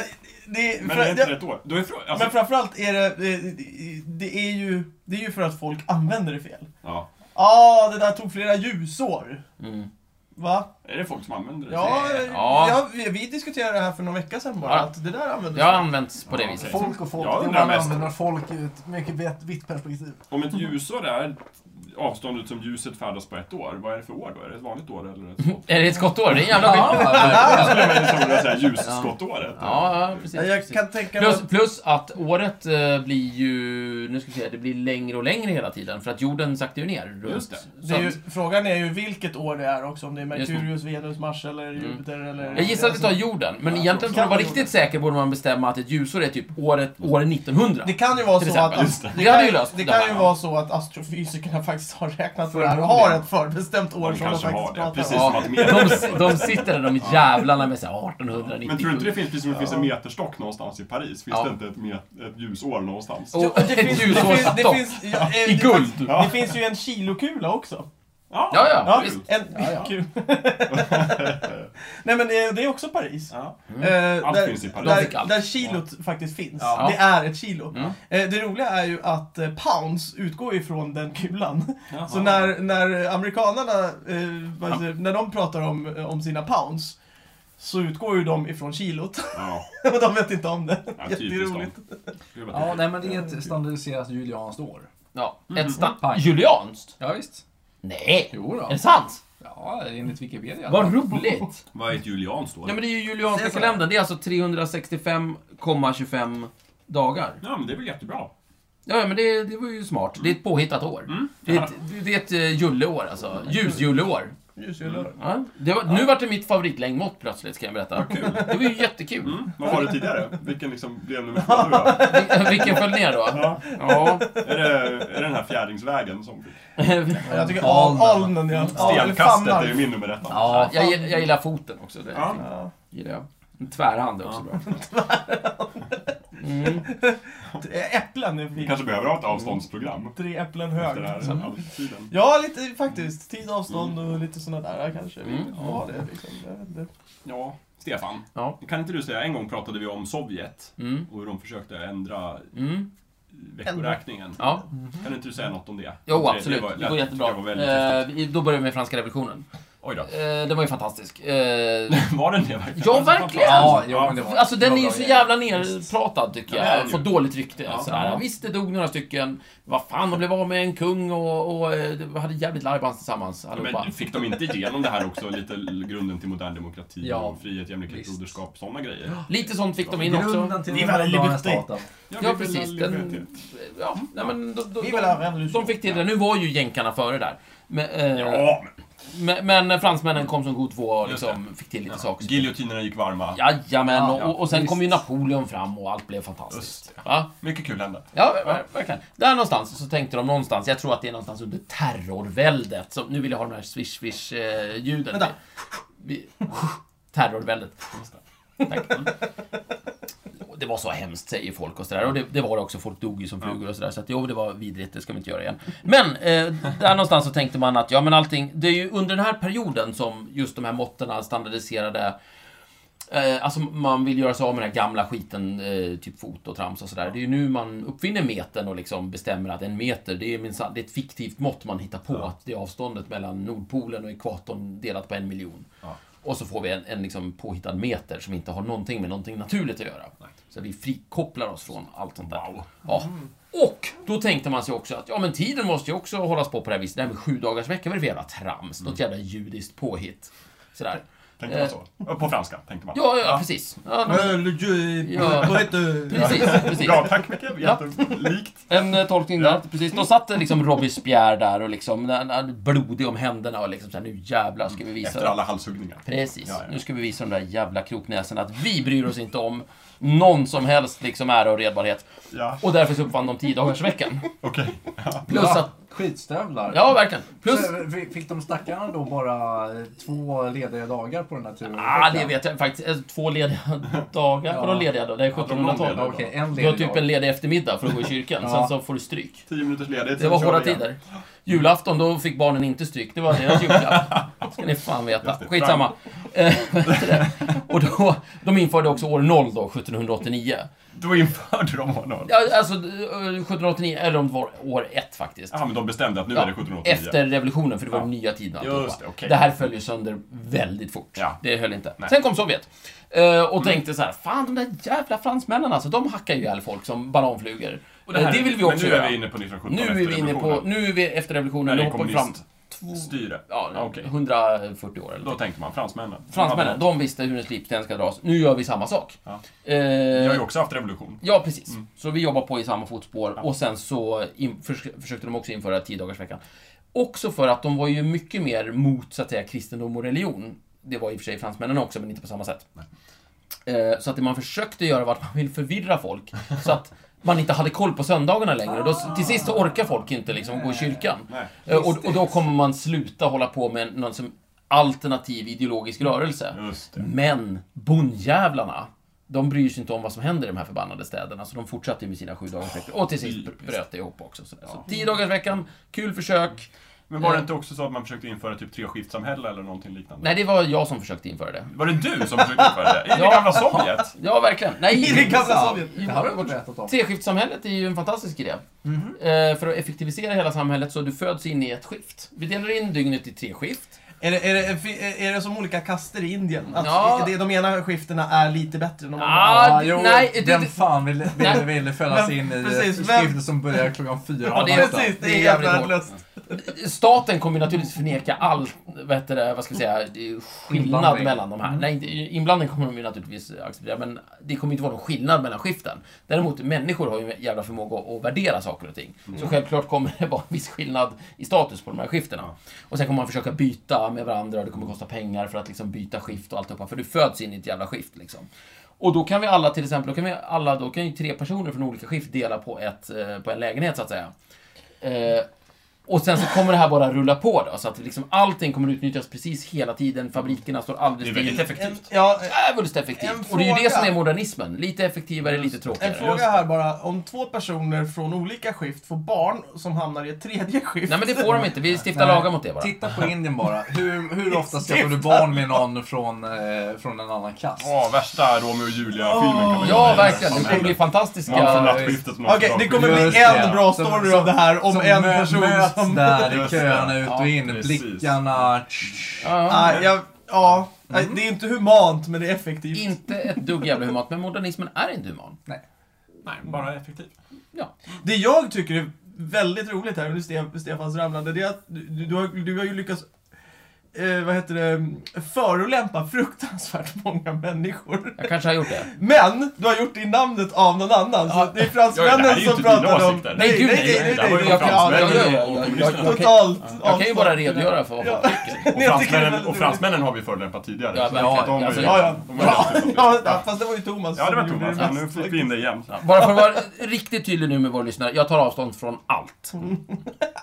Speaker 1: Det,
Speaker 3: Men
Speaker 1: fra-
Speaker 3: det är inte
Speaker 1: det-
Speaker 3: rätt år. Då är frå- alltså,
Speaker 1: men framförallt är det, det- det är ju, det är ju för att folk använder det fel.
Speaker 3: ja.
Speaker 1: Ja, ah, det där tog flera ljusår.
Speaker 4: Mm.
Speaker 1: Va?
Speaker 3: Är det folk som använder det?
Speaker 1: Ja,
Speaker 4: Det- ja.
Speaker 1: ja. vi, vi diskuterade det här för någon vecka sedan bara,
Speaker 4: Ja.
Speaker 1: att det där använder
Speaker 4: Det har använts på det viset.
Speaker 2: Folk och folk,
Speaker 3: Jag
Speaker 2: det
Speaker 3: undrar
Speaker 2: man
Speaker 3: mest.
Speaker 2: använder folk ur ett mycket vitt- vitt perspektiv.
Speaker 3: Om ett ljusår är avståndet som ljuset färdas på ett år, vad är det för år då? Är det ett vanligt år eller ett skott?
Speaker 4: Är det ett skottår? Det är en jävla skillnad.
Speaker 3: Jag skulle vilja säga så här ljusskottåret.
Speaker 4: Ja, ja, precis.
Speaker 1: Ja, Jag
Speaker 4: precis.
Speaker 1: kan tänka mig...
Speaker 4: Plus, plus att året eh, blir ju, nu ska vi se, det blir längre och längre hela tiden för att jorden saktar ju ner. runt.
Speaker 3: Just det.
Speaker 1: Det
Speaker 4: Så
Speaker 1: är ju,
Speaker 4: att,
Speaker 1: frågan är ju vilket år det är också, om det är
Speaker 4: Just det. Mm.
Speaker 1: Merkurius, Venus, Mars eller Jupiter eller...
Speaker 4: jag gissar att vi tar jorden, men egentligen för att vara riktigt säker borde man bestämma att ett ljusår är typ året, år 1900.
Speaker 1: Det kan ju vara
Speaker 4: Till
Speaker 1: så att,
Speaker 4: exempel.
Speaker 1: ast-
Speaker 4: Just det.
Speaker 1: det
Speaker 4: Det hade
Speaker 1: kan,
Speaker 4: ju löst
Speaker 1: det
Speaker 4: det
Speaker 1: kan
Speaker 4: här,
Speaker 1: ju
Speaker 4: ja.
Speaker 1: vara så att astrofysikerna faktiskt har räknat på det här och har ett förbestämt år
Speaker 3: De
Speaker 1: som de
Speaker 3: kanske
Speaker 1: faktiskt
Speaker 3: har det,
Speaker 1: pratar
Speaker 3: precis
Speaker 1: om.
Speaker 4: Ja,
Speaker 3: som att
Speaker 4: de, de sitter där, de jävlarna med såhär 1890.
Speaker 3: Men tror du inte det finns, precis som det finns en meterstock någonstans i Paris, finns
Speaker 4: Ja. Oh.
Speaker 3: det inte ett, met, ett ljusår någonstans?
Speaker 4: Och ett
Speaker 1: Det finns, det
Speaker 4: ljusårsstopp.
Speaker 1: finns, ja, eh,
Speaker 4: I
Speaker 1: det,
Speaker 4: guld.
Speaker 1: finns- det finns ju en kilokula också.
Speaker 3: Ja,
Speaker 4: Ja, ja,
Speaker 1: Ja,
Speaker 3: kul.
Speaker 1: en,
Speaker 2: Ja, ja.
Speaker 1: Kul. Nej men det är, det är också Paris.
Speaker 3: Ja.
Speaker 1: Eh,
Speaker 3: Mm. Allt
Speaker 1: där,
Speaker 3: finns i Paris.
Speaker 4: De fick
Speaker 1: där,
Speaker 4: allt.
Speaker 1: där kilot faktiskt finns.
Speaker 4: Ja.
Speaker 1: Det är ett kilo.
Speaker 4: Mm.
Speaker 1: Eh, det roliga är ju att eh, pounds utgår ifrån den kulan.
Speaker 3: Jaha.
Speaker 1: Så när, när amerikanarna, eh, vad heter, det, när de pratar om, eh, om sina pounds, så utgår ju de ifrån kilot.
Speaker 3: Ja,
Speaker 1: Och de vet inte om det.
Speaker 3: ja typiskt dem.
Speaker 1: Jätteroligt.
Speaker 3: Gud, vad
Speaker 2: Ja,
Speaker 3: typiskt.
Speaker 2: nej men det är ett standardiserat julianskt år.
Speaker 4: Ja, ett sta-
Speaker 2: Pang.
Speaker 4: Julianskt?
Speaker 2: Ja, visst.
Speaker 4: Nej!
Speaker 2: Jo
Speaker 4: Är det
Speaker 2: då.
Speaker 4: sant?
Speaker 2: Ja, enligt Wikipedia.
Speaker 4: Vad roligt!
Speaker 3: Vad är ett julianskt då?
Speaker 4: Ja men det är ju
Speaker 1: Det
Speaker 4: julianska
Speaker 1: är så.
Speaker 4: kalendern. Det är alltså 365,25 dagar.
Speaker 3: Ja, men det är väl jättebra.
Speaker 4: Ja, ja, men det, det var ju smart. Det är ett påhittat år.
Speaker 3: Mm.
Speaker 4: Det, är ett, det- det är ett eh, julleår alltså. Ljusjulleår.
Speaker 3: Mm.
Speaker 1: Ljuskulor.
Speaker 4: Ja, det var, Nu vart det mitt favoritlängdmått plötsligt, ska jag berätta. Det var ju jättekul.
Speaker 3: Mm. Vad var det tidigare? Vilken liksom blev nummer två nu då?
Speaker 4: Vil- Vilken föll ner då?
Speaker 3: Ja.
Speaker 4: Ja.
Speaker 3: Är det, är det den här fjäringsvägen som fick?
Speaker 1: Jag tycker al-
Speaker 2: Alnen.
Speaker 1: alnen, ja. Ja, eller
Speaker 3: Stenkastet
Speaker 1: famnar.
Speaker 3: är ju min nummer ett.
Speaker 4: ja jag, gill- jag gillar foten också. Det
Speaker 3: Ja.
Speaker 1: Ja.
Speaker 4: gillar jag. En tvärhand är också bra. Mm.
Speaker 1: Äpplen är
Speaker 3: Vi
Speaker 1: fint.
Speaker 3: kanske behöver ha ett avståndsprogram.
Speaker 1: Tre äpplen
Speaker 3: Efter det
Speaker 1: hög.
Speaker 3: här alltiden.
Speaker 1: Ja, lite faktiskt. Tid, avstånd och lite sådana där kanske. Vi
Speaker 4: Mm.
Speaker 1: har det liksom. Jag vet inte.
Speaker 3: Ja, Stefan.
Speaker 4: Ja.
Speaker 3: Kan inte du säga, en gång pratade vi om Sovjet
Speaker 4: Mm.
Speaker 3: och hur de försökte ändra
Speaker 4: Mm.
Speaker 3: veckoräkningen.
Speaker 4: Ja.
Speaker 3: Kan inte du säga något om det?
Speaker 4: Jo,
Speaker 3: det,
Speaker 4: absolut.
Speaker 3: var-
Speaker 4: Det går jättebra.
Speaker 3: Det var väldigt häftigt.
Speaker 4: Eh, vi- då börjar vi med franska revolutionen.
Speaker 3: Oj då.
Speaker 4: Eh, den var ju fantastisk. Eh,
Speaker 3: Var den det verkligen?
Speaker 4: Ja, verkligen.
Speaker 2: Ja, jo, men det var
Speaker 4: Alltså den är ju
Speaker 2: bra
Speaker 4: så
Speaker 2: grejer.
Speaker 4: jävla nerpratad tycker
Speaker 3: Ja, det är
Speaker 4: jag.
Speaker 3: ju.
Speaker 4: Får dåligt rykte.
Speaker 3: Ja.
Speaker 4: sådär. Visst, det dog några stycken. Vad fan, de blev av med en kung och, och eh, det hade jävligt larvbands tillsammans allihopa.
Speaker 3: Men fick de inte igenom det här också? Lite grunden till modern demokrati
Speaker 2: Ja,
Speaker 3: och frihet, jämlikhet,
Speaker 2: visst.
Speaker 3: broderskap, sådana grejer.
Speaker 4: Lite sånt fick de in också.
Speaker 2: Grunden till
Speaker 1: Vi
Speaker 2: den
Speaker 1: var
Speaker 2: moderna
Speaker 1: liberté.
Speaker 2: staten.
Speaker 4: Ja, precis. Den, ja, nej, men de, de,
Speaker 1: Vi vill ha
Speaker 4: de,
Speaker 1: revolution.
Speaker 4: de fick till det. Nu var ju jänkarna före där. Men, eh,
Speaker 3: Ja, men
Speaker 4: men, men fransmännen kom som god två och
Speaker 3: Just
Speaker 4: liksom fick till lite saker.
Speaker 3: giljotinerna gick varma.
Speaker 4: Jajamän,
Speaker 2: Ja,
Speaker 4: och, och sen
Speaker 2: visst.
Speaker 4: kom ju Napoleon fram och allt blev fantastiskt.
Speaker 3: Just
Speaker 4: Va?
Speaker 3: Mycket kul hände.
Speaker 4: Ja, ver- ver- verkligen. Där någonstans så tänkte de någonstans, jag tror att det är någonstans under terrorväldet. Så nu vill jag ha de här swish swish eh, ljuden.
Speaker 1: Vänta.
Speaker 4: Vi, vi- terrorväldet. Tack. Mm. Det var så hemskt, säger folk och sådär. Och det, det var det också, folk dog ju som flugor och sådär. Så att jo, det var vidrigt, det ska vi inte göra igen. Men, eh, där någonstans så tänkte man att, ja men allting, det är ju under den här perioden som just de här måtten standardiserade Eh, alltså man vill göra sig av med den här gamla skiten, eh, typ fot och trams och sådär. Det är ju nu man uppfinner metern och liksom bestämmer att en meter, det är, minsann- det är ett fiktivt mått man hittar på. Att det är avståndet mellan Nordpolen och ekvatorn delat på en miljon.
Speaker 3: Ja.
Speaker 4: Och så får vi en, en liksom påhittad meter som inte har någonting med någonting naturligt att göra. Så vi frikopplar oss från allt sånt där. Ja. Och då tänkte man sig också att ja, men tiden måste ju också hållas på på det här viset. Det här med sju dagars vecka, vad är det för jävla trams? Något jävla judiskt påhitt. Sådär.
Speaker 3: Tänkte man så? På franska, tänkte man.
Speaker 4: Eh. Ja, ja, precis. Ja, de- Ja.
Speaker 1: Vad heter det?
Speaker 4: Precis, precis.
Speaker 3: Bra, tack Micke.
Speaker 4: Ja.
Speaker 3: Jättelikt.
Speaker 4: En eh, tolkning där, precis. Då satt det liksom Robespierre där och liksom, när- när- blodig om händerna och liksom så här, nu jävlar ska vi visa
Speaker 3: Efter alla halshuggningar.
Speaker 4: Precis.
Speaker 3: Ja, ja.
Speaker 4: Nu ska vi visa de där jävla kroknäsen att vi bryr oss inte om någon som helst liksom ära och redbarhet.
Speaker 3: Ja,
Speaker 4: Och därför så uppfann de 10-dagarsveckan.
Speaker 3: okej.
Speaker 4: Plus
Speaker 2: Ja,
Speaker 4: att...
Speaker 2: Skitstövlar.
Speaker 4: Ja, verkligen. Plus...
Speaker 2: Så fick fick de stackarna då bara eh, två lediga dagar på den här turen?
Speaker 4: Ah, det vet jag faktiskt. Alltså, Två lediga dagar.
Speaker 2: Ja.
Speaker 4: Vadå lediga då? Det är
Speaker 3: Hade de någon ledig
Speaker 4: 1700-tal.
Speaker 3: dag?
Speaker 2: Okej, en
Speaker 4: Du har
Speaker 2: ledig
Speaker 4: typ
Speaker 2: dag.
Speaker 4: en ledig eftermiddag för att gå i kyrkan.
Speaker 2: Ja.
Speaker 4: Sen så får du stryk.
Speaker 3: Tio minuters ledighet.
Speaker 4: Det
Speaker 3: sen
Speaker 4: var
Speaker 3: kör
Speaker 4: hårda
Speaker 3: vi igen.
Speaker 4: tider. Julafton, då fick barnen inte stryk. Det var deras julklapp. ska ni fan veta.
Speaker 3: Just det.
Speaker 4: Skitsamma. Eh, vad heter det? och då, de införde också år 0 då, 1789.
Speaker 3: Då införde de honom.
Speaker 4: Ja, alltså, eh, 1789, eller om det var år ett faktiskt.
Speaker 5: Ja, men de bestämde att nu
Speaker 4: Ja,
Speaker 5: är det 1789.
Speaker 4: Efter revolutionen, för det var den nya tiden.
Speaker 5: Just
Speaker 4: alltihopa.
Speaker 5: det, okej.
Speaker 4: det här föll ju sönder väldigt fort.
Speaker 5: Ja.
Speaker 4: Det höll inte.
Speaker 5: Nej. Mm.
Speaker 4: Sen kom Sovjet. eh, Och tänkte så här, fan de där jävla fransmännen alltså, de hackar ju ihjäl folk som bananflugor. Eh,
Speaker 5: Och
Speaker 4: det,
Speaker 5: här-
Speaker 4: vill vi också
Speaker 5: Men nu
Speaker 4: göra.
Speaker 5: är vi inne på 1917
Speaker 4: nu är
Speaker 5: efter
Speaker 4: vi inne på,
Speaker 5: revolutionen.
Speaker 4: nu är vi efter revolutionen,
Speaker 5: När
Speaker 4: nu
Speaker 5: det är
Speaker 4: hoppar vi fram två,
Speaker 5: kommuniststyre.
Speaker 4: ja,
Speaker 5: okej.
Speaker 4: 140 år eller
Speaker 5: Då
Speaker 4: något.
Speaker 5: tänkte man fransmännen.
Speaker 4: Fransmännen, de visste hur en slipsten ska dras. Nu gör vi samma sak.
Speaker 5: Ja.
Speaker 4: Eh,
Speaker 5: Vi har ju också haft revolution.
Speaker 4: Ja, precis.
Speaker 5: Mm.
Speaker 4: Så vi jobbar på i samma fotspår och sen så in, förs försökte de också införa 10-dagarsveckan. Också för att de var ju mycket mer mot, så att säga, kristendom och religion. Det var i och för sig fransmännen också, men inte på samma sätt. Eh, Så att det man försökte göra var att man ville förvirra folk. Så att man inte hade koll på söndagarna längre. Då, till sist så orkar folk inte liksom gå i kyrkan.
Speaker 5: Nej.
Speaker 4: Eh, Och, och då kommer man sluta hålla på med någon som alternativ ideologisk rörelse.
Speaker 5: Just
Speaker 1: Typ.
Speaker 5: det.
Speaker 4: Men bondjävlarna, de bryr sig inte om vad som händer i de här förbannade städerna, så de fortsatte ju med sina sju dagars veckor. Och till sist
Speaker 5: Typiskt.
Speaker 4: bröt det ihop också. Så, så tio dagars veckan, kul försök.
Speaker 5: Men var det inte också så att man försökte införa typ treskiftssamhälle eller någonting liknande?
Speaker 4: Eh. Nej, det var jag som försökte införa det.
Speaker 5: Var det du som försökte införa det? I det
Speaker 4: Ja.
Speaker 5: gamla Sovjet?
Speaker 4: Ja, verkligen.
Speaker 1: I det
Speaker 4: Nej,
Speaker 1: gamla Sovjet.
Speaker 2: Det här har jag gått rätt om.
Speaker 4: treskiftssamhället är ju en fantastisk idé.
Speaker 1: Mhm.
Speaker 4: Eh, för att effektivisera hela samhället så du föds in i ett skift. Vi delar in dygnet i tre skift.
Speaker 1: Är det, är, det, är det som olika kaster i Indien? Att
Speaker 4: Ja.
Speaker 1: det, de ena skiftena är lite bättre än de andra?
Speaker 4: Ah,
Speaker 2: Ja,
Speaker 4: det-
Speaker 2: jo,
Speaker 4: nej, det-
Speaker 2: vem
Speaker 4: det-
Speaker 2: fan vill, vill,
Speaker 4: Nej.
Speaker 2: vill fällas
Speaker 1: Vem-
Speaker 2: in i
Speaker 1: precis,
Speaker 2: skrifter
Speaker 1: vem-
Speaker 2: som börjar klockan fyra?
Speaker 4: Ja, det är-
Speaker 2: nästan?
Speaker 1: Precis, det
Speaker 4: Det är
Speaker 1: är
Speaker 4: jävligt
Speaker 1: jävla värdelöst.
Speaker 4: Staten kommer ju naturligtvis förneka all, vad heter det, vad ska vi säga, skillnad
Speaker 2: Inblandning.
Speaker 4: mellan de här. Nej, inte- inblandning kommer de ju naturligtvis acceptera, men det kommer inte vara någon skillnad mellan skiften. Däremot, människor har ju en jävla förmåga att, att värdera saker och ting. Så självklart kommer det vara en viss skillnad i status på de här skiftena. Och sen kommer man försöka byta med varandra och det kommer kosta pengar för att liksom byta skift och alltihopa, för du föds in i ett jävla skift liksom. Och då kan vi alla till exempel, då kan vi alla, då kan ju tre personer från olika skift dela på, ett, eh, på en lägenhet så att säga. Eh, och sen så kommer det här bara rulla på då, så att liksom allting kommer utnyttjas precis hela tiden. Fabrikerna står
Speaker 5: Det
Speaker 4: aldrig
Speaker 5: är
Speaker 4: still.
Speaker 5: väldigt
Speaker 1: En,
Speaker 5: effektivt.
Speaker 1: ja,
Speaker 4: Djävulskt
Speaker 1: En
Speaker 4: effektivt. Och det är ju
Speaker 1: fråga.
Speaker 4: det som är modernismen. Lite effektivare, lite
Speaker 1: en
Speaker 4: tråkigare.
Speaker 1: fråga här bara. Om två personer från olika skift får barn som hamnar i ett tredje skift.
Speaker 4: Nej men det får de inte, vi stiftar lagar mot det bara.
Speaker 2: Titta på Indien bara. Hur, hur ofta skaffar du barn med någon från, eh, från en annan klass?
Speaker 5: Åh, värsta Romeo och Julia-filmen kan man
Speaker 4: Ja,
Speaker 5: göra.
Speaker 4: verkligen. Det kommer
Speaker 5: Samhället.
Speaker 4: bli fantastiska...
Speaker 5: Någon från
Speaker 2: Ja,
Speaker 5: nattskiftet som
Speaker 1: Okej, det kommer
Speaker 2: Just
Speaker 1: bli
Speaker 2: det.
Speaker 1: en bra
Speaker 2: Som-
Speaker 1: story
Speaker 2: som-
Speaker 1: av det här om
Speaker 2: som
Speaker 1: en
Speaker 2: mö-
Speaker 1: person
Speaker 2: möts
Speaker 1: som...
Speaker 2: där i
Speaker 5: Just det.
Speaker 2: köerna ut och in,
Speaker 5: Ja, precis.
Speaker 2: blickarna...
Speaker 4: Ja,
Speaker 1: Nej, jag, Ah, ja,
Speaker 2: Mm.
Speaker 1: Nej, det är inte humant, men det är effektivt.
Speaker 4: inte ett dugg jävla humant, men modernismen är inte human.
Speaker 5: Nej, bara effektivt.
Speaker 4: Ja.
Speaker 1: Det jag tycker är väldigt roligt här under Ste- Stefans ramlande, det är att du, du, har, du har ju lyckats eh, vad heter det, förolämpa fruktansvärt många människor.
Speaker 4: Jag kanske har gjort det.
Speaker 1: Men du har gjort det i namnet av någon annan, så det är
Speaker 5: Ja, det här är
Speaker 1: fransmännen
Speaker 5: ju
Speaker 1: som
Speaker 5: inte dina
Speaker 1: pratar om...
Speaker 5: åsikter.
Speaker 4: Nej, gud nej!
Speaker 5: nej, nej,
Speaker 4: Jag
Speaker 5: nej.
Speaker 4: kan- ja, ja, ja, ja, ja, ja,
Speaker 5: Totalt
Speaker 4: jag kan-
Speaker 1: Totalt
Speaker 4: Jag kan ju bara
Speaker 1: avslag.
Speaker 4: redogöra för vad folk
Speaker 1: Ja.
Speaker 4: tycker.
Speaker 1: Jag
Speaker 5: Och
Speaker 1: tycker det är
Speaker 5: fransmännen,
Speaker 1: väldigt
Speaker 5: och fransmännen har vi förelämpat tidigare.
Speaker 4: Ja,
Speaker 5: Så
Speaker 4: verkligen.
Speaker 5: de är ju-
Speaker 4: Alltså,
Speaker 1: Ja, ja.
Speaker 5: de är ju
Speaker 1: Ja,
Speaker 5: absolut-
Speaker 1: ja, ja, fast det var ju Thomas
Speaker 5: Ja, det var
Speaker 1: som gjorde
Speaker 5: Thomas. Ja, nu
Speaker 1: mest.
Speaker 5: fick vi in det igen.
Speaker 4: Bara för att vara riktigt tydlig nu med våra lyssnare, jag tar avstånd från allt.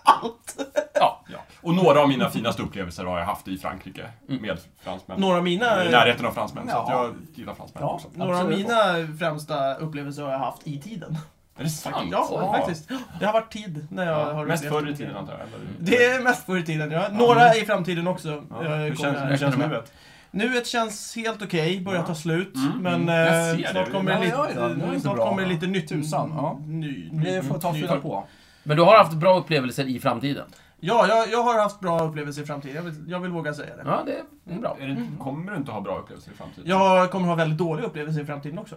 Speaker 5: Ja. Och några av mina finaste upplevelser har jag haft i Frankrike med fransmän.
Speaker 1: Några av mina,
Speaker 5: I närheten av fransmän, så
Speaker 2: Ja.
Speaker 5: att jag gillar fransmän
Speaker 2: Ja.
Speaker 5: också.
Speaker 1: några av
Speaker 2: Absolut.
Speaker 1: mina främsta upplevelser har jag haft i tiden.
Speaker 5: Är det sant?
Speaker 1: Ja, faktiskt. Det har varit tid när jag
Speaker 5: Ja,
Speaker 1: har
Speaker 5: mest
Speaker 1: upplevt
Speaker 5: förr i
Speaker 1: det.
Speaker 5: tiden antar jag? eller?
Speaker 1: Det är mest förr i tiden, ja. Några i framtiden också.
Speaker 5: Ja.
Speaker 1: eh,
Speaker 5: Hur
Speaker 1: kommer
Speaker 5: känns,
Speaker 1: jag
Speaker 5: hur känns
Speaker 1: räkna med.
Speaker 5: nuet?
Speaker 1: Nuet känns helt okej, börjar
Speaker 5: Ja.
Speaker 1: ta slut.
Speaker 5: Mm.
Speaker 1: Men
Speaker 5: Jag
Speaker 1: eh,
Speaker 5: ser
Speaker 1: snart
Speaker 5: det.
Speaker 1: kommer
Speaker 2: Ja,
Speaker 1: det
Speaker 2: ja, ja, det är
Speaker 1: lite,
Speaker 2: inte
Speaker 1: snart
Speaker 2: bra.
Speaker 1: kommer det lite nytt.
Speaker 2: Tusan, ja.
Speaker 1: Ny, ny,
Speaker 2: Vi får ta
Speaker 1: ny-
Speaker 2: fyra på.
Speaker 4: Men du har haft bra upplevelser i framtiden?
Speaker 1: Ja, jag, jag har haft bra upplevelser i framtiden. Jag vill, jag vill våga säga det.
Speaker 4: Ja, det är bra.
Speaker 5: Är
Speaker 1: Mm.
Speaker 5: det, kommer du inte ha bra upplevelser i framtiden?
Speaker 1: Jag kommer ha väldigt dåliga upplevelser i framtiden också.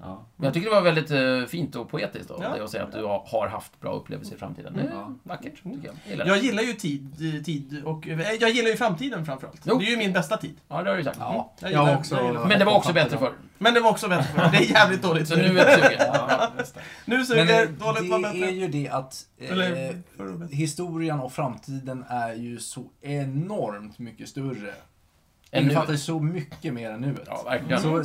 Speaker 5: Ja.
Speaker 4: Men jag tycker det var väldigt eh, fint och poetiskt av
Speaker 1: Ja.
Speaker 4: dig att säga att du har har haft bra upplevelser i framtiden. Det är
Speaker 5: Ja.
Speaker 4: vackert, tycker jag. jag. Gillar det.
Speaker 1: Jag gillar ju tid, eh, tid och... eh, Jag gillar ju framtiden framförallt.
Speaker 4: Jo.
Speaker 1: Det är ju min bästa tid.
Speaker 4: Ja, det har du sagt. Mm.
Speaker 2: Ja,
Speaker 1: Jag
Speaker 2: jag
Speaker 1: gillar-
Speaker 2: också.
Speaker 1: jag gillar-
Speaker 4: Men det var också bättre förr.
Speaker 1: Men det var också väldigt bra. Det är jävligt dåligt.
Speaker 4: Så nu är det sugen.
Speaker 5: Ja, just det.
Speaker 1: Nu
Speaker 2: Men eh,
Speaker 1: suger, dåligt var
Speaker 2: det är
Speaker 1: bättre.
Speaker 2: ju det att eh,
Speaker 1: Eller förr var bättre.
Speaker 2: historien och framtiden är ju så enormt mycket större.
Speaker 4: Än
Speaker 2: Du
Speaker 4: nu.
Speaker 2: fattar ju så mycket mer än nuet.
Speaker 4: Ja, verkligen.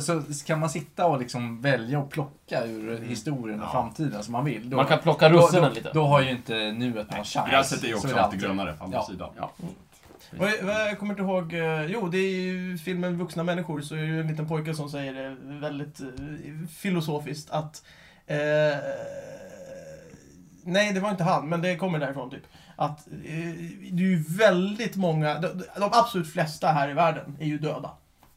Speaker 2: Så, så kan man sitta och liksom välja och plocka ur historien och
Speaker 5: Ja.
Speaker 2: framtiden som man vill. Då,
Speaker 4: Man kan plocka russinen
Speaker 2: då,
Speaker 4: lite.
Speaker 2: då, då har ju inte nuet någon chans.
Speaker 5: Gräset är ju
Speaker 2: Så
Speaker 5: också
Speaker 2: alltid.
Speaker 5: alltid grönare på andra
Speaker 2: Ja.
Speaker 5: sidan.
Speaker 4: Ja.
Speaker 1: Och jag, jag kommer inte ihåg, eh, jo det är ju filmen Vuxna människor så är det ju en liten pojke som säger det väldigt eh, filosofiskt att eh, Nej, det var inte han, men det kommer därifrån typ. Att eh, det är ju väldigt många, de, de absolut flesta här i världen är ju döda.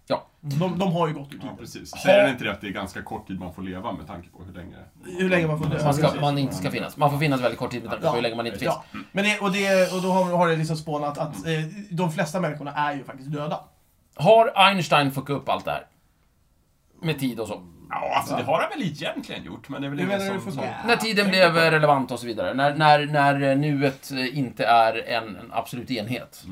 Speaker 4: Ja.
Speaker 2: Mm.
Speaker 1: De, de har ju gott
Speaker 5: Ja,
Speaker 1: tid.
Speaker 5: precis.
Speaker 1: Ha-
Speaker 5: Säger den inte det att det är ganska kort tid man får leva med tanke på hur länge...
Speaker 1: Hur länge man får
Speaker 4: Man,
Speaker 3: alltså,
Speaker 4: ska,
Speaker 1: precis.
Speaker 4: man inte ska finnas. Man får finnas väldigt kort tid med tanke på hur länge man inte finns. Mm.
Speaker 1: Ja. Men det, och, det, och då har, har det liksom spånat att eh, de flesta människorna är ju faktiskt döda.
Speaker 4: Har Einstein fuckat upp allt det här? Med tid och så.
Speaker 3: Ja, alltså det har han väl egentligen gjort, men det är väl
Speaker 1: Hur
Speaker 3: ingen
Speaker 1: menar du
Speaker 3: som...
Speaker 1: för
Speaker 3: som...
Speaker 1: så?
Speaker 4: När tiden blev relevant och så vidare. När, när, när nuet inte är en, en absolut enhet.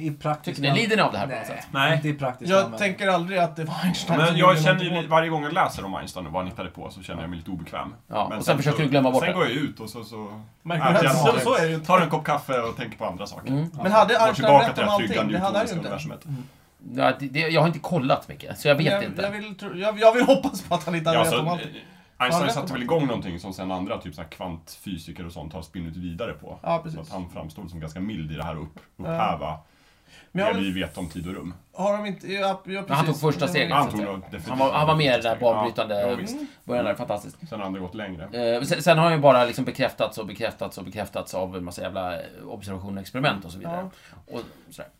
Speaker 2: I praktiskt
Speaker 4: Tycker ni, lider ni av det här på något
Speaker 2: Nej.
Speaker 4: sätt?
Speaker 3: Nej.
Speaker 2: Inte i praktiskt
Speaker 1: Jag
Speaker 2: användning.
Speaker 1: tänker aldrig att det var Einstein
Speaker 3: Men
Speaker 1: som
Speaker 3: jag
Speaker 1: gjorde
Speaker 3: känner
Speaker 1: någonting
Speaker 3: ju,
Speaker 1: åt-
Speaker 3: varje gång jag läser om Einstein och vad han hittade på så känner jag mig lite obekväm.
Speaker 4: Ja,
Speaker 3: Men
Speaker 4: och sen försöker
Speaker 3: så-
Speaker 4: du glömma bort
Speaker 3: Sen
Speaker 4: det.
Speaker 3: går jag ut och så... så
Speaker 1: Märker du
Speaker 3: Ja,
Speaker 1: att-
Speaker 3: jag-
Speaker 1: så- så är det ju inte.
Speaker 3: Tar en kopp kaffe och tänker på andra saker.
Speaker 4: Mm.
Speaker 1: Men hade
Speaker 3: Går
Speaker 1: Einstein
Speaker 3: tillbaka
Speaker 1: rätt
Speaker 3: till
Speaker 1: om
Speaker 3: det här tryggande
Speaker 1: allting? Det hade han ju
Speaker 3: utopiska
Speaker 1: inte. Mm.
Speaker 3: universumet.
Speaker 4: Ja, det, det, jag har inte kollat mycket, så jag vet
Speaker 1: jag,
Speaker 4: inte.
Speaker 1: Jag vill, tro- jag, jag vill hoppas på att han inte hade
Speaker 3: Ja,
Speaker 1: rätt om
Speaker 3: alltså,
Speaker 1: allting.
Speaker 3: Einstein
Speaker 1: rätt
Speaker 3: satte
Speaker 1: om
Speaker 3: väl igång någonting som sen andra, typ så här kvantfysiker och sånt, har spinnit vidare på.
Speaker 1: Ja,
Speaker 3: Så att
Speaker 1: precis.
Speaker 3: han framstod som ganska mild i det här att upp, upphäva
Speaker 1: Men jag
Speaker 3: det vi
Speaker 1: vill,
Speaker 3: vet om tid och rum.
Speaker 1: har de inte... Ja, ja, precis.
Speaker 4: Men han tog första
Speaker 1: Det var
Speaker 4: steget.
Speaker 1: ju-
Speaker 3: Han tog
Speaker 4: så att
Speaker 3: nog definitivt
Speaker 4: Han var, han var med i det där
Speaker 3: första steget.
Speaker 4: banbrytande
Speaker 3: Ja, ja, visst.
Speaker 4: början där, fantastiskt.
Speaker 3: Sen har andra gått längre.
Speaker 4: Eh, sen, sen har han ju bara liksom bekräftats och bekräftats och bekräftats av en massa jävla observationer, experiment och så vidare. Och sådär.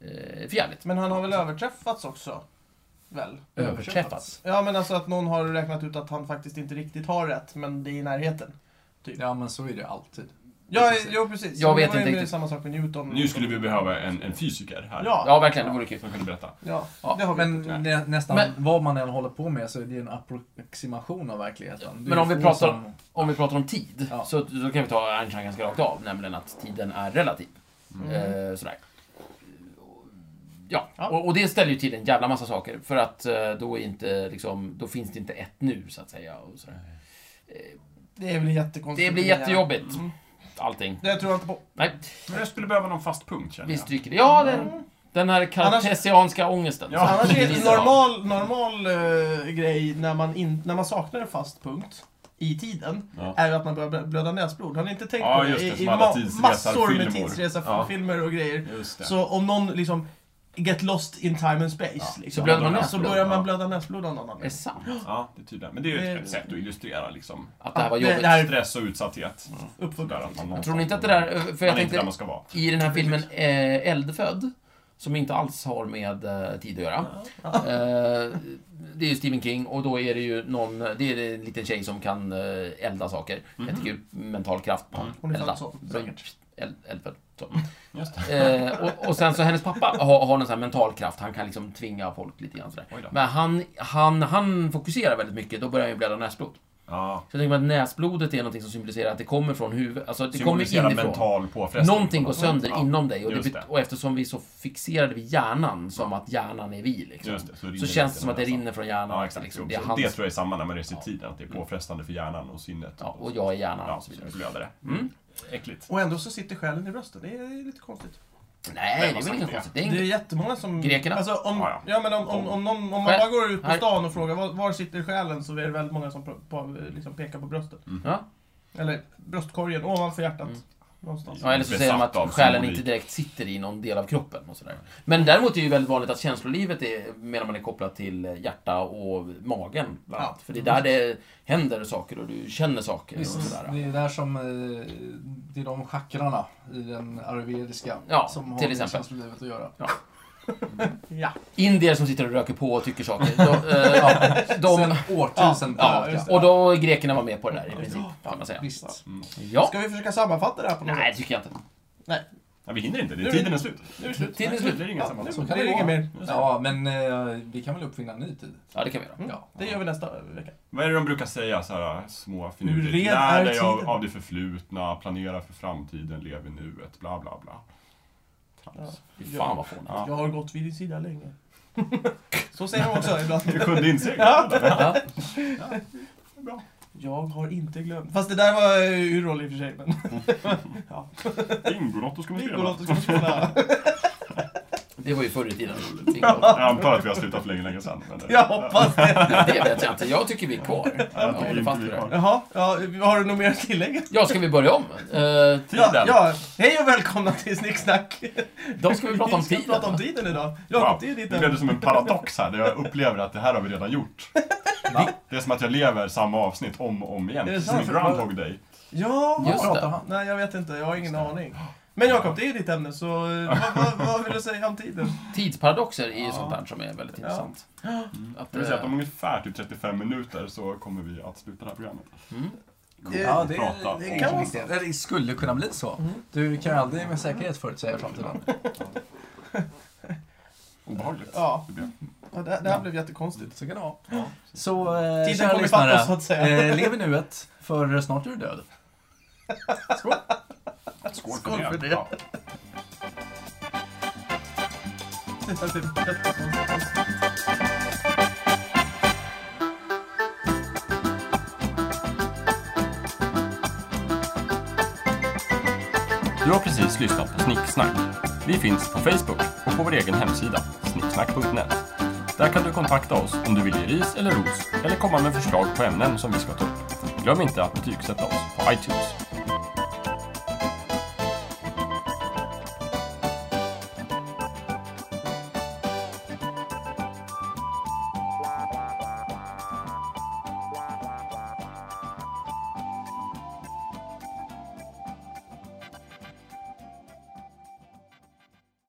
Speaker 4: Eh, för jävligt.
Speaker 1: Men han har väl överträffats också? Väl?
Speaker 4: Överträffats.
Speaker 1: Ja, men alltså att någon har räknat ut att han faktiskt inte riktigt har rätt, men det är i närheten.
Speaker 2: Ja, men så är det alltid.
Speaker 1: Ja,
Speaker 2: Precis.
Speaker 1: jo, precis.
Speaker 4: Jag
Speaker 1: Men det var
Speaker 4: vet
Speaker 1: ju
Speaker 4: inte
Speaker 1: med
Speaker 4: riktigt.
Speaker 1: Samma sak med Newton.
Speaker 3: Nu skulle vi behöva en, en fysiker här.
Speaker 1: Ja, ja.
Speaker 4: Ja, verkligen. Det vore kul.
Speaker 3: Som kunde berätta.
Speaker 1: ja det har vi.
Speaker 2: Men
Speaker 3: Nej.
Speaker 2: nä, nästan
Speaker 4: Men-
Speaker 2: vad man än håller på med så är det ju en approximation av verkligheten. Det är
Speaker 4: men om
Speaker 2: ju
Speaker 4: vi
Speaker 2: få
Speaker 4: pratar-
Speaker 2: som-
Speaker 4: Om vi pratar om tid,
Speaker 2: Ja.
Speaker 4: så, så kan vi ta Einstein ganska rakt av, nämligen att tiden är relativ.
Speaker 3: Mm.
Speaker 4: Eh, sådär. Ja,
Speaker 1: Mm. Ja.
Speaker 4: Och, och det ställer ju till en jävla massa saker, för att eh, då, är inte, liksom, då finns det inte ett nu, så att säga. Och sådär.
Speaker 1: Det är väl jättekonstigt.
Speaker 4: Det blir jättejobbigt,
Speaker 1: Mm.
Speaker 4: allting.
Speaker 1: Det tror jag inte på.
Speaker 4: Nej,
Speaker 3: Men jag skulle behöva någon fast punkt känner
Speaker 4: vi
Speaker 3: jag.
Speaker 4: stryker det. Ja,
Speaker 1: Mm.
Speaker 4: den, den här kartesianska ångesten.
Speaker 3: Ja.
Speaker 1: Annars är det
Speaker 4: Precis.
Speaker 1: en normal, normal eh, grej när man, in, när man saknar en fast punkt i tiden
Speaker 3: Ja.
Speaker 1: är ju att man börjar blöda näsblod. Har ni inte tänkt
Speaker 3: Ja,
Speaker 1: på det?
Speaker 3: just det,
Speaker 1: I,
Speaker 3: som
Speaker 1: i
Speaker 3: alla
Speaker 1: ma- massor med
Speaker 3: tidsresarfilmer.
Speaker 1: tidsresafilmer och grejer.
Speaker 3: Just det.
Speaker 1: Så om någon liksom get lost in time and space,
Speaker 3: Ja.
Speaker 1: liksom,
Speaker 4: Så blöder man
Speaker 1: så
Speaker 4: näsblod,
Speaker 1: börjar man
Speaker 3: ja.
Speaker 1: blöda näsblod av någon
Speaker 4: Är det
Speaker 1: annan.
Speaker 4: sant?
Speaker 3: Ja, det är tydligt. Men det är ju ett,
Speaker 1: Det-
Speaker 3: ett sätt att illustrera liksom
Speaker 4: Att det här var
Speaker 1: Ja, det-
Speaker 4: jobbigt.
Speaker 1: det här-
Speaker 3: stress och utsatthet.
Speaker 1: Mm.
Speaker 3: Sådär,
Speaker 1: Uppfuckad.
Speaker 3: att man
Speaker 4: Jag
Speaker 3: någonstans-
Speaker 4: tror ni inte att det där... För jag
Speaker 3: man är inte
Speaker 4: tänkte,
Speaker 3: där man ska vara.
Speaker 4: I den här filmen eh, Eldfödd, som inte alls har med eh, tid att göra. Eh, det är ju Stephen King och då är det ju någon, det är en liten tjej som kan eh, elda saker.
Speaker 3: Mhm.
Speaker 4: Jättekul, mental kraft.
Speaker 3: Mm.
Speaker 1: Hon är
Speaker 4: Elda.
Speaker 1: född så,
Speaker 4: Bra.
Speaker 1: säkert.
Speaker 4: Eld, eldfödd. Så.
Speaker 3: Just det.
Speaker 4: Eh, och, och sen så hennes pappa har, har någon sån här mental kraft, han kan liksom tvinga folk lite grann sådär.
Speaker 3: Oj då.
Speaker 4: Men han, han, han fokuserar väldigt mycket, då börjar han ju blöda näsblod.
Speaker 3: Ja.
Speaker 4: Så jag tänker mig att näsblodet är någonting som symboliserar att det kommer från huvudet, alltså det kommer
Speaker 3: Symbolisera
Speaker 4: inifrån.
Speaker 3: mental påfrestning.
Speaker 4: Någonting går sönder
Speaker 3: Ja,
Speaker 4: inom dig och, det,
Speaker 3: just
Speaker 4: bet- och eftersom vi är så fixerade vid hjärnan som att hjärnan är vi liksom,
Speaker 3: Just det, så rinner
Speaker 4: så
Speaker 3: det
Speaker 4: känns det
Speaker 3: till
Speaker 4: som att det
Speaker 3: näsan.
Speaker 4: rinner från hjärnan.
Speaker 3: Ja, exakt.
Speaker 4: liksom.
Speaker 3: det,
Speaker 4: det är
Speaker 3: tror
Speaker 4: hans, Mm.
Speaker 3: jag är samma när man reser i tiden, att det är påfrestande för hjärnan och sinnet.
Speaker 4: ja, och jag är hjärnan
Speaker 3: Ja,
Speaker 4: och så
Speaker 3: så
Speaker 4: vidare.
Speaker 3: blöder det.
Speaker 4: Mm.
Speaker 3: Äckligt.
Speaker 1: Och ändå så sitter själen i brösten. Det är lite konstigt.
Speaker 4: Nej, det är
Speaker 3: har
Speaker 4: väl inget
Speaker 3: sagt det?
Speaker 4: konstigt. Det är
Speaker 1: Det är
Speaker 4: inget.
Speaker 1: jättemånga som...
Speaker 4: Grekerna.
Speaker 1: Alltså, om,
Speaker 3: Ja,
Speaker 1: ja,
Speaker 3: ja.
Speaker 1: men om, om, om, någon, om man
Speaker 4: Här.
Speaker 1: bara går ut på
Speaker 4: Här.
Speaker 1: stan och frågar var, var sitter själen så är det väldigt många som på, på, liksom pekar på bröstet.
Speaker 4: Ja.
Speaker 1: Eller bröstkorgen ovanför hjärtat.
Speaker 4: Mm.
Speaker 1: Någonstans.
Speaker 4: Ja, eller så säger de
Speaker 3: Besatt av
Speaker 4: att själen
Speaker 3: symbolik.
Speaker 4: inte direkt sitter i någon del av kroppen. Och sådär. Men däremot är det ju väldigt vanligt att känslolivet är, menar man är kopplat till hjärta och magen. Bland annat.
Speaker 1: Ja.
Speaker 4: För det är där det händer saker och du känner saker. Och
Speaker 2: Visst,
Speaker 4: sådär.
Speaker 2: det är där som... eh, Det är de chakrarna i den ayurvediska
Speaker 4: Ja,
Speaker 2: som
Speaker 4: till
Speaker 2: har med
Speaker 4: exempel.
Speaker 2: känslolivet att göra.
Speaker 1: Ja.
Speaker 4: Indier som sitter och röker på och tycker saker. De, eh, de,
Speaker 2: Sen årtusen
Speaker 1: Ja, ja,
Speaker 2: tillbaka.
Speaker 1: just det.
Speaker 4: och då är grekerna var med på det där i princip, kan man säga. Mm.
Speaker 2: Visst.
Speaker 4: Ja.
Speaker 1: Ska vi försöka sammanfatta det här på något
Speaker 4: Nej, det
Speaker 1: sätt?
Speaker 4: tycker jag inte.
Speaker 3: Ja, vi hinner inte, det
Speaker 1: Nu-
Speaker 3: är tiden är slut.
Speaker 1: Nu är det slut.
Speaker 4: Tiden är
Speaker 3: Det
Speaker 4: slut.
Speaker 3: är inga
Speaker 1: Ja,
Speaker 3: sammanhang.
Speaker 1: nu
Speaker 2: Så kan
Speaker 1: blir det
Speaker 2: det
Speaker 1: inget
Speaker 2: vara.
Speaker 1: mer.
Speaker 2: Ja, men eh, vi kan väl uppfinna en ny tid?
Speaker 4: Ja, det kan vi göra.
Speaker 1: Mm.
Speaker 2: Ja.
Speaker 1: Det gör vi nästa vecka.
Speaker 3: Vad är det de brukar säga så här små
Speaker 1: Hur ren
Speaker 3: finurligt?
Speaker 1: är
Speaker 3: Lär dig av,
Speaker 1: tiden?
Speaker 3: av det förflutna, planera för framtiden, lev i nuet, bla bla bla. Trams.
Speaker 4: Fy fan vad fånigt.
Speaker 3: Ja.
Speaker 1: Jag har gått vid din sida länge. Så säger de också ibland.
Speaker 3: Det kunde insegla.
Speaker 4: Ja.
Speaker 1: Jag har inte glömt. Fast det där var ju ur roll i och för sig. Men...
Speaker 3: Bingolotto ska man spela.
Speaker 1: Bingolotto ska vi spela.
Speaker 4: Det var ju förr i tiden.
Speaker 3: Jag antar att vi har slutat för länge, länge sedan. Men, eh,
Speaker 1: Jag hoppas det.
Speaker 4: Det vet jag inte. Jag tycker vi är kvar. Jag
Speaker 3: tycker
Speaker 4: håller
Speaker 3: inte
Speaker 4: fast
Speaker 3: vi
Speaker 4: vid
Speaker 3: är kvar.
Speaker 4: det.
Speaker 1: Jaha, ja, har du något mer att tillägga?
Speaker 4: Ja, ska vi börja om? Eh,
Speaker 1: Ja,
Speaker 3: Tiden.
Speaker 1: ja, hej och välkomna till Snicksnack!
Speaker 4: Då ska vi prata om
Speaker 1: ska
Speaker 4: tiden.
Speaker 1: prata om tiden idag. Jakob,
Speaker 3: Wow.
Speaker 1: det är
Speaker 3: Det
Speaker 1: ditt
Speaker 3: blev det
Speaker 1: ämne.
Speaker 3: som en paradox här, där jag upplever att det här har vi redan gjort. Det är som att jag lever samma avsnitt om och om
Speaker 1: Är
Speaker 3: igen.
Speaker 1: det
Speaker 3: Som i
Speaker 1: sant?
Speaker 3: Groundhog Day.
Speaker 1: Ja,
Speaker 2: Vad
Speaker 4: Just det.
Speaker 2: pratar han?
Speaker 1: nej jag vet inte, jag har ingen aning. Men Jakob, det är ditt ämne, så eh, vad, vad, vad vill du säga om tiden?
Speaker 4: Tidsparadoxer är ju
Speaker 1: Ja.
Speaker 4: sånt där som är väldigt
Speaker 1: Ja.
Speaker 4: intressant. Att,
Speaker 3: Jag vill säga att
Speaker 4: eh,
Speaker 3: om ungefär typ 35 minuter så kommer vi att sluta det här programmet.
Speaker 4: mm.
Speaker 1: Eh,
Speaker 2: Ja, det,
Speaker 3: Prata
Speaker 2: det,
Speaker 3: om
Speaker 2: kan vara
Speaker 1: riktigt.
Speaker 2: så. Eller det skulle kunna bli så. Du kan ju aldrig med säkerhet förutsäga framtiden.
Speaker 3: Obehagligt.
Speaker 1: Ja.
Speaker 3: Det blir-
Speaker 1: Ja, det, det här blev jättekonstigt.
Speaker 2: Så kan det vara.
Speaker 3: Ja.
Speaker 2: Så, eh,
Speaker 1: Tiden
Speaker 2: kära
Speaker 1: kommer fatta
Speaker 2: lyssnare,
Speaker 1: oss, så att säga.
Speaker 2: Eh, lev i nuet, för snart är du död.
Speaker 3: Skål,
Speaker 1: Skål för det.
Speaker 3: Ja.
Speaker 1: Det här blev jättekonstigt.
Speaker 3: Du har precis lyssnat på Snicksnack. Vi finns på Facebook och på vår egen hemsida, snicksnack.net. Där kan du kontakta oss om du vill ge ris eller ros eller komma med förslag på ämnen som vi ska ta upp. Glöm inte att betygsätta oss på iTunes.